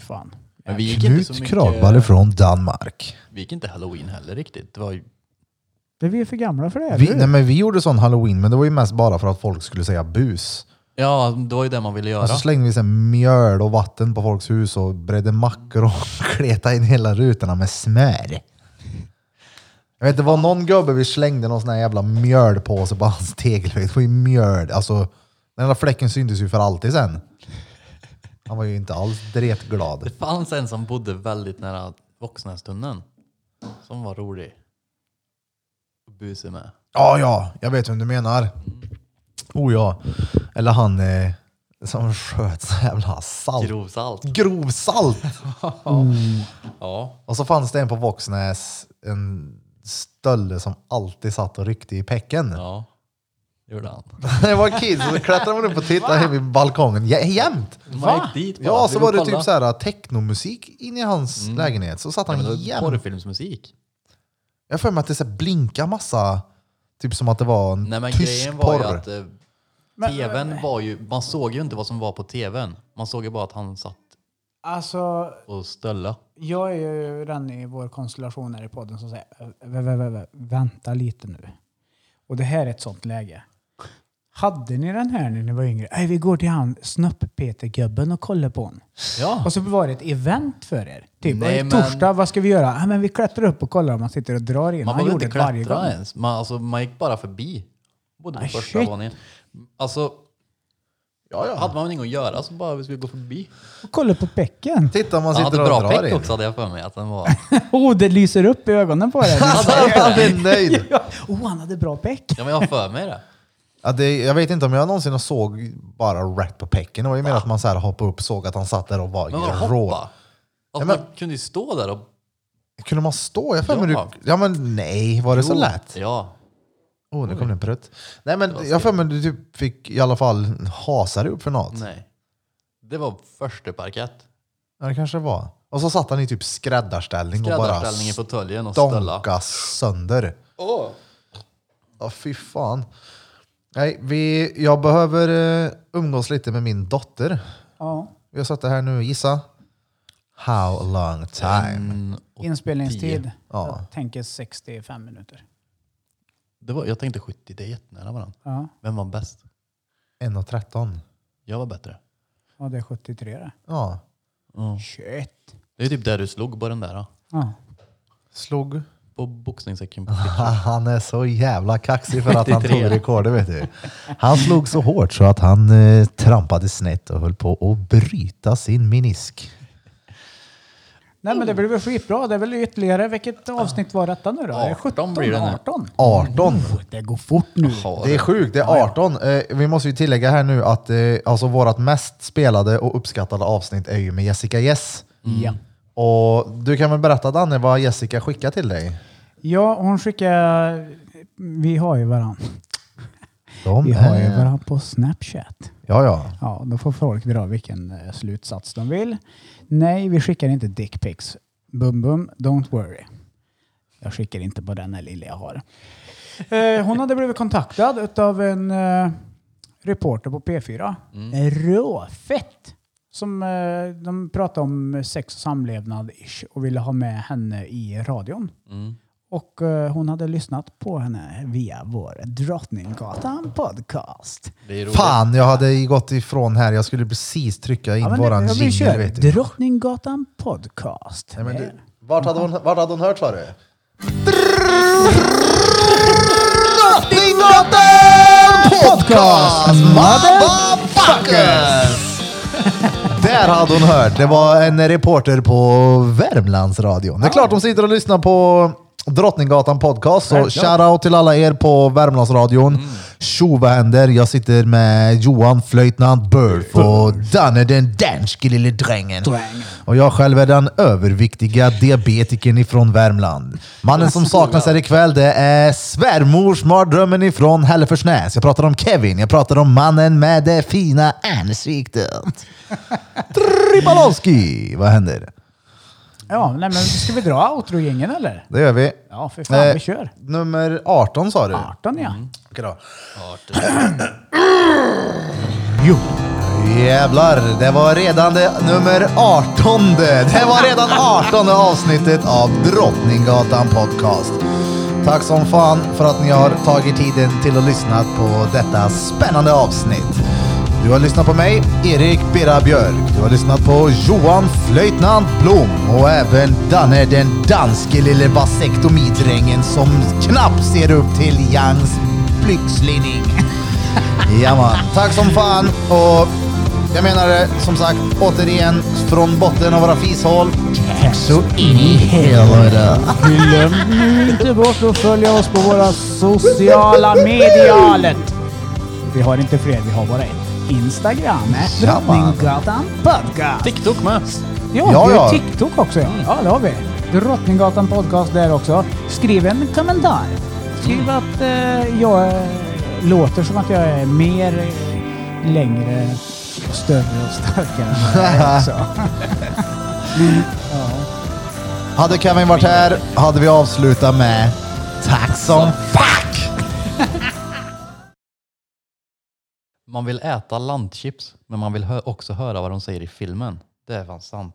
Speaker 2: Fan.
Speaker 3: Men vi gick inte så
Speaker 1: Knut
Speaker 3: mycket...
Speaker 1: Kragballe från Danmark.
Speaker 3: Vi gick inte halloween heller riktigt. Det var ju...
Speaker 2: Men Vi är för gamla för det.
Speaker 1: Vi,
Speaker 2: eller hur?
Speaker 1: nej, men vi gjorde sån halloween, men det var ju mest bara för att folk skulle säga bus.
Speaker 3: Ja, det var ju det man ville göra.
Speaker 1: Och så slängde vi sen mjöl och vatten på folks hus och bredde mackor och kletade in hela rutorna med smör. Jag vet, det var någon gubbe vi slängde någon sån här jävla mjölpåse på hans tegelvägg. Det var ju mjöl. Alltså, den där fläcken syntes ju för alltid sen. Han var ju inte alls dretglad.
Speaker 3: Det fanns en som bodde väldigt nära Voxnästunneln. Som var rolig. Och busig med.
Speaker 1: Ja, ja, jag vet vem du menar. Oh ja. Eller han eh, som sköt så jävla salt.
Speaker 3: Grovsalt.
Speaker 1: Grovsalt!
Speaker 3: Ja.
Speaker 1: Och så fanns det en på Våxnäs, en stölle som alltid satt och ryckte i pecken.
Speaker 3: Ja. Det gjorde han.
Speaker 1: När jag var kid så klättrade man upp och tittade hem i balkongen jä- jämt.
Speaker 3: Man gick dit bara.
Speaker 1: Ja, så
Speaker 3: Vill
Speaker 1: var
Speaker 3: du
Speaker 1: det
Speaker 3: kolla? Mm.
Speaker 1: typ så här technomusik inne i hans lägenhet. Så satt
Speaker 3: Ja,
Speaker 1: han
Speaker 3: men det var ju
Speaker 1: jämt.
Speaker 3: porrfilmsmusik.
Speaker 1: Jag har för mig att det så här blinkar massa, typ som att det var en
Speaker 3: Nej men
Speaker 1: tysk
Speaker 3: grejen var
Speaker 1: porr.
Speaker 3: ju att eh, tvn var ju... Man såg ju inte vad som var på tvn. Man såg ju bara att han satt
Speaker 2: Alltså,
Speaker 3: och stölla.
Speaker 2: jag är ju den i vår konstellation här i podden som säger "Vä- vä- vä- vä- vänta lite nu. Och det här är ett sånt läge. Hade ni den här när ni var yngre? Nej, vi går till han snopp-Peter-gubben och kollar på honom.
Speaker 3: Ja.
Speaker 2: Och så var det ett event för er. Typ,
Speaker 3: Nej,
Speaker 2: Nej,
Speaker 3: men-
Speaker 2: torsdag, vad ska vi göra? Ah, men vi klättrar upp och kollar om man sitter och drar in.
Speaker 3: Man
Speaker 2: han
Speaker 3: behövde
Speaker 2: gjorde
Speaker 3: inte
Speaker 2: det varje
Speaker 3: klättra
Speaker 2: gång.
Speaker 3: ens. Man, alltså, man gick bara förbi. Både på
Speaker 2: Ah,
Speaker 3: första
Speaker 2: shit.
Speaker 3: våningen. Alltså, hade man inget att göra så bara vi skulle gå förbi.
Speaker 2: Och kolla på bäcken.
Speaker 1: Titta, man
Speaker 3: Han
Speaker 1: sitter
Speaker 3: hade
Speaker 1: och
Speaker 3: bra
Speaker 1: drar
Speaker 3: peck
Speaker 1: in.
Speaker 3: också hade jag för mig att den var.
Speaker 2: Oh, det lyser upp i ögonen på dig.
Speaker 1: Alltså, han är nöjd.
Speaker 2: Ja. Oh, han hade bra bäck.
Speaker 3: Ja men jag har för mig det.
Speaker 1: Ja, det, jag vet inte om jag någonsin såg bara rätt på pecken. Det var ju mer att man så här hoppade upp, såg att han satt där och var
Speaker 3: Men vadå
Speaker 1: rå.
Speaker 3: hoppa? Att
Speaker 1: men-
Speaker 3: man kunde ju stå där och...
Speaker 1: Kunde man stå? Jag för mig
Speaker 3: Ja.
Speaker 1: du, ja men nej, var det så lätt?
Speaker 3: Ja.
Speaker 1: Åh, nu kom det en prutt. Nej men jag för mig du typ fick i alla fall hasa dig upp för något.
Speaker 3: Nej. Det var första parkett.
Speaker 1: Ja, det kanske det var. Och så satt han i typ skräddarställning,
Speaker 3: Skräddarställning i
Speaker 1: och
Speaker 3: fåtöljen och
Speaker 1: bara
Speaker 3: ställa.
Speaker 1: donka sönder.
Speaker 3: Åh!
Speaker 1: Ja, fy fan. Nej, vi, jag behöver eh, umgås lite med min dotter.
Speaker 2: Ja.
Speaker 1: Vi har suttit här nu, gissa. How long time?
Speaker 3: Mm, och
Speaker 2: Inspelningstid.
Speaker 3: tio.
Speaker 1: Ja.
Speaker 2: Jag tänker 65 minuter.
Speaker 3: Det var, jag tänkte 70, det är jättenära varandra.
Speaker 2: Ja,
Speaker 3: Vem var bäst?
Speaker 1: 1.13.
Speaker 3: Jag var bättre.
Speaker 2: ja det är 73 det.
Speaker 1: Ja.
Speaker 2: Shit.
Speaker 3: Det är typ där du slog på den där. då.
Speaker 2: Ja.
Speaker 1: Slog.
Speaker 3: På boxningssäcken. På
Speaker 1: Han är så jävla kaxig för att han
Speaker 3: 93.
Speaker 1: tog rekordet vet du. Han slog så hårt så att han eh, trampade snett och höll på att bryta sin menisk.
Speaker 2: Nej men det blir väl skitbra. Det är väl ytterligare, vilket avsnitt var detta nu då? Är det
Speaker 3: 18
Speaker 2: 17?
Speaker 3: blir det nu.
Speaker 2: 18?
Speaker 1: 18.
Speaker 2: Det går fort nu.
Speaker 1: Det är sjukt, det är 18. Eh, vi måste ju tillägga här nu att eh, alltså vårt mest spelade och uppskattade avsnitt är ju med Jessica Yes.
Speaker 2: Ja.
Speaker 1: Och du kan väl berätta Danne vad Jessica skickade till dig?
Speaker 2: ja, hon skickar... Vi har ju varandra.
Speaker 1: De
Speaker 2: Vi har ju
Speaker 1: är-
Speaker 2: varandra på Snapchat.
Speaker 1: Ja, ja.
Speaker 2: Ja, då får folk dra vilken eh, slutsats de vill. Nej, vi skickar inte dickpics. Bum bum, don't worry. Jag skickar inte på den här lilla jag har. Eh, hon hade blivit kontaktad av en eh, reporter på P4. Råfett! Som eh, de pratade om sex och samlevnad ish och ville ha med henne i radion. Och eh, hon hade lyssnat på henne via vår Drottninggatan podcast.
Speaker 3: Det är roligt.
Speaker 1: Fan, jag hade ju gått ifrån här. Jag skulle precis trycka in
Speaker 2: Ja, men
Speaker 1: våran
Speaker 2: jag vill köra
Speaker 1: jingel. vet du.
Speaker 2: Drottninggatan podcast.
Speaker 1: Nej, men
Speaker 2: Det-
Speaker 1: du, vart, hade hon, vart hade hon hört sa du? Drottninggatan podcast! Motherfuckers! Där hade hon hört. Det var en reporter på Värmlandsradion. Det är klart de sitter och lyssnar på Drottninggatan podcast. Så shoutout till alla er på Värmlandsradion.
Speaker 2: Mm.
Speaker 1: Tjo vad händer? Jag sitter med Johan Flöjtnant Burf och Danne den danske lille drängen. Och jag själv är den överviktiga diabetikern ifrån Värmland. Mannen som saknas här ikväll det är svärmorsmardrömmen ifrån Hälleforsnäs. Jag pratar om Kevin, jag pratar om mannen med det fina ansiktet. Tripalowski! Vad händer?
Speaker 2: Ja, nej, men ska vi dra outrojingeln eller?
Speaker 1: Det gör vi.
Speaker 2: Ja, för fan,
Speaker 1: Eh,
Speaker 2: vi kör.
Speaker 1: Nummer 18 sa du?
Speaker 2: 18 ja.
Speaker 1: Okej då. Jo. Jävlar, det var redan det nummer 18. Det var redan 18 avsnittet av Drottninggatan Podcast. Tack som fan för att ni har tagit tiden till att lyssna på detta spännande avsnitt. Du har lyssnat på mig, Erik Birra Björk. Du har lyssnat på Johan Flöjtnant Blom och även Danne den danske lille vasektomidrängen som knappt ser upp till Jangs blixtlinning. Jajamän. Tack som fan. Och jag menar det som sagt återigen från botten av våra fishål. Tack så in i helvete.
Speaker 2: Glöm nu inte bort att följa oss på våra sociala medialet. Vi har inte fler, vi har bara ett. Instagram,
Speaker 1: Ja, man.
Speaker 2: Drottninggatan podcast.
Speaker 3: TikTok med.
Speaker 2: Ja,
Speaker 1: Ja,
Speaker 2: det är
Speaker 1: ja.
Speaker 2: TikTok också. Ja. ja, det har vi. Drottninggatan podcast där också. Skriv en kommentar. Skriv att eh, jag eh, låter som att jag är mer, eh, längre, större och starkare än vad jag är också.
Speaker 1: Hade Kevin varit här hade vi avslutat med Tack som fuck!
Speaker 3: Man vill äta landchips, men man vill hö- också höra vad de säger i filmen. Det är fan sant.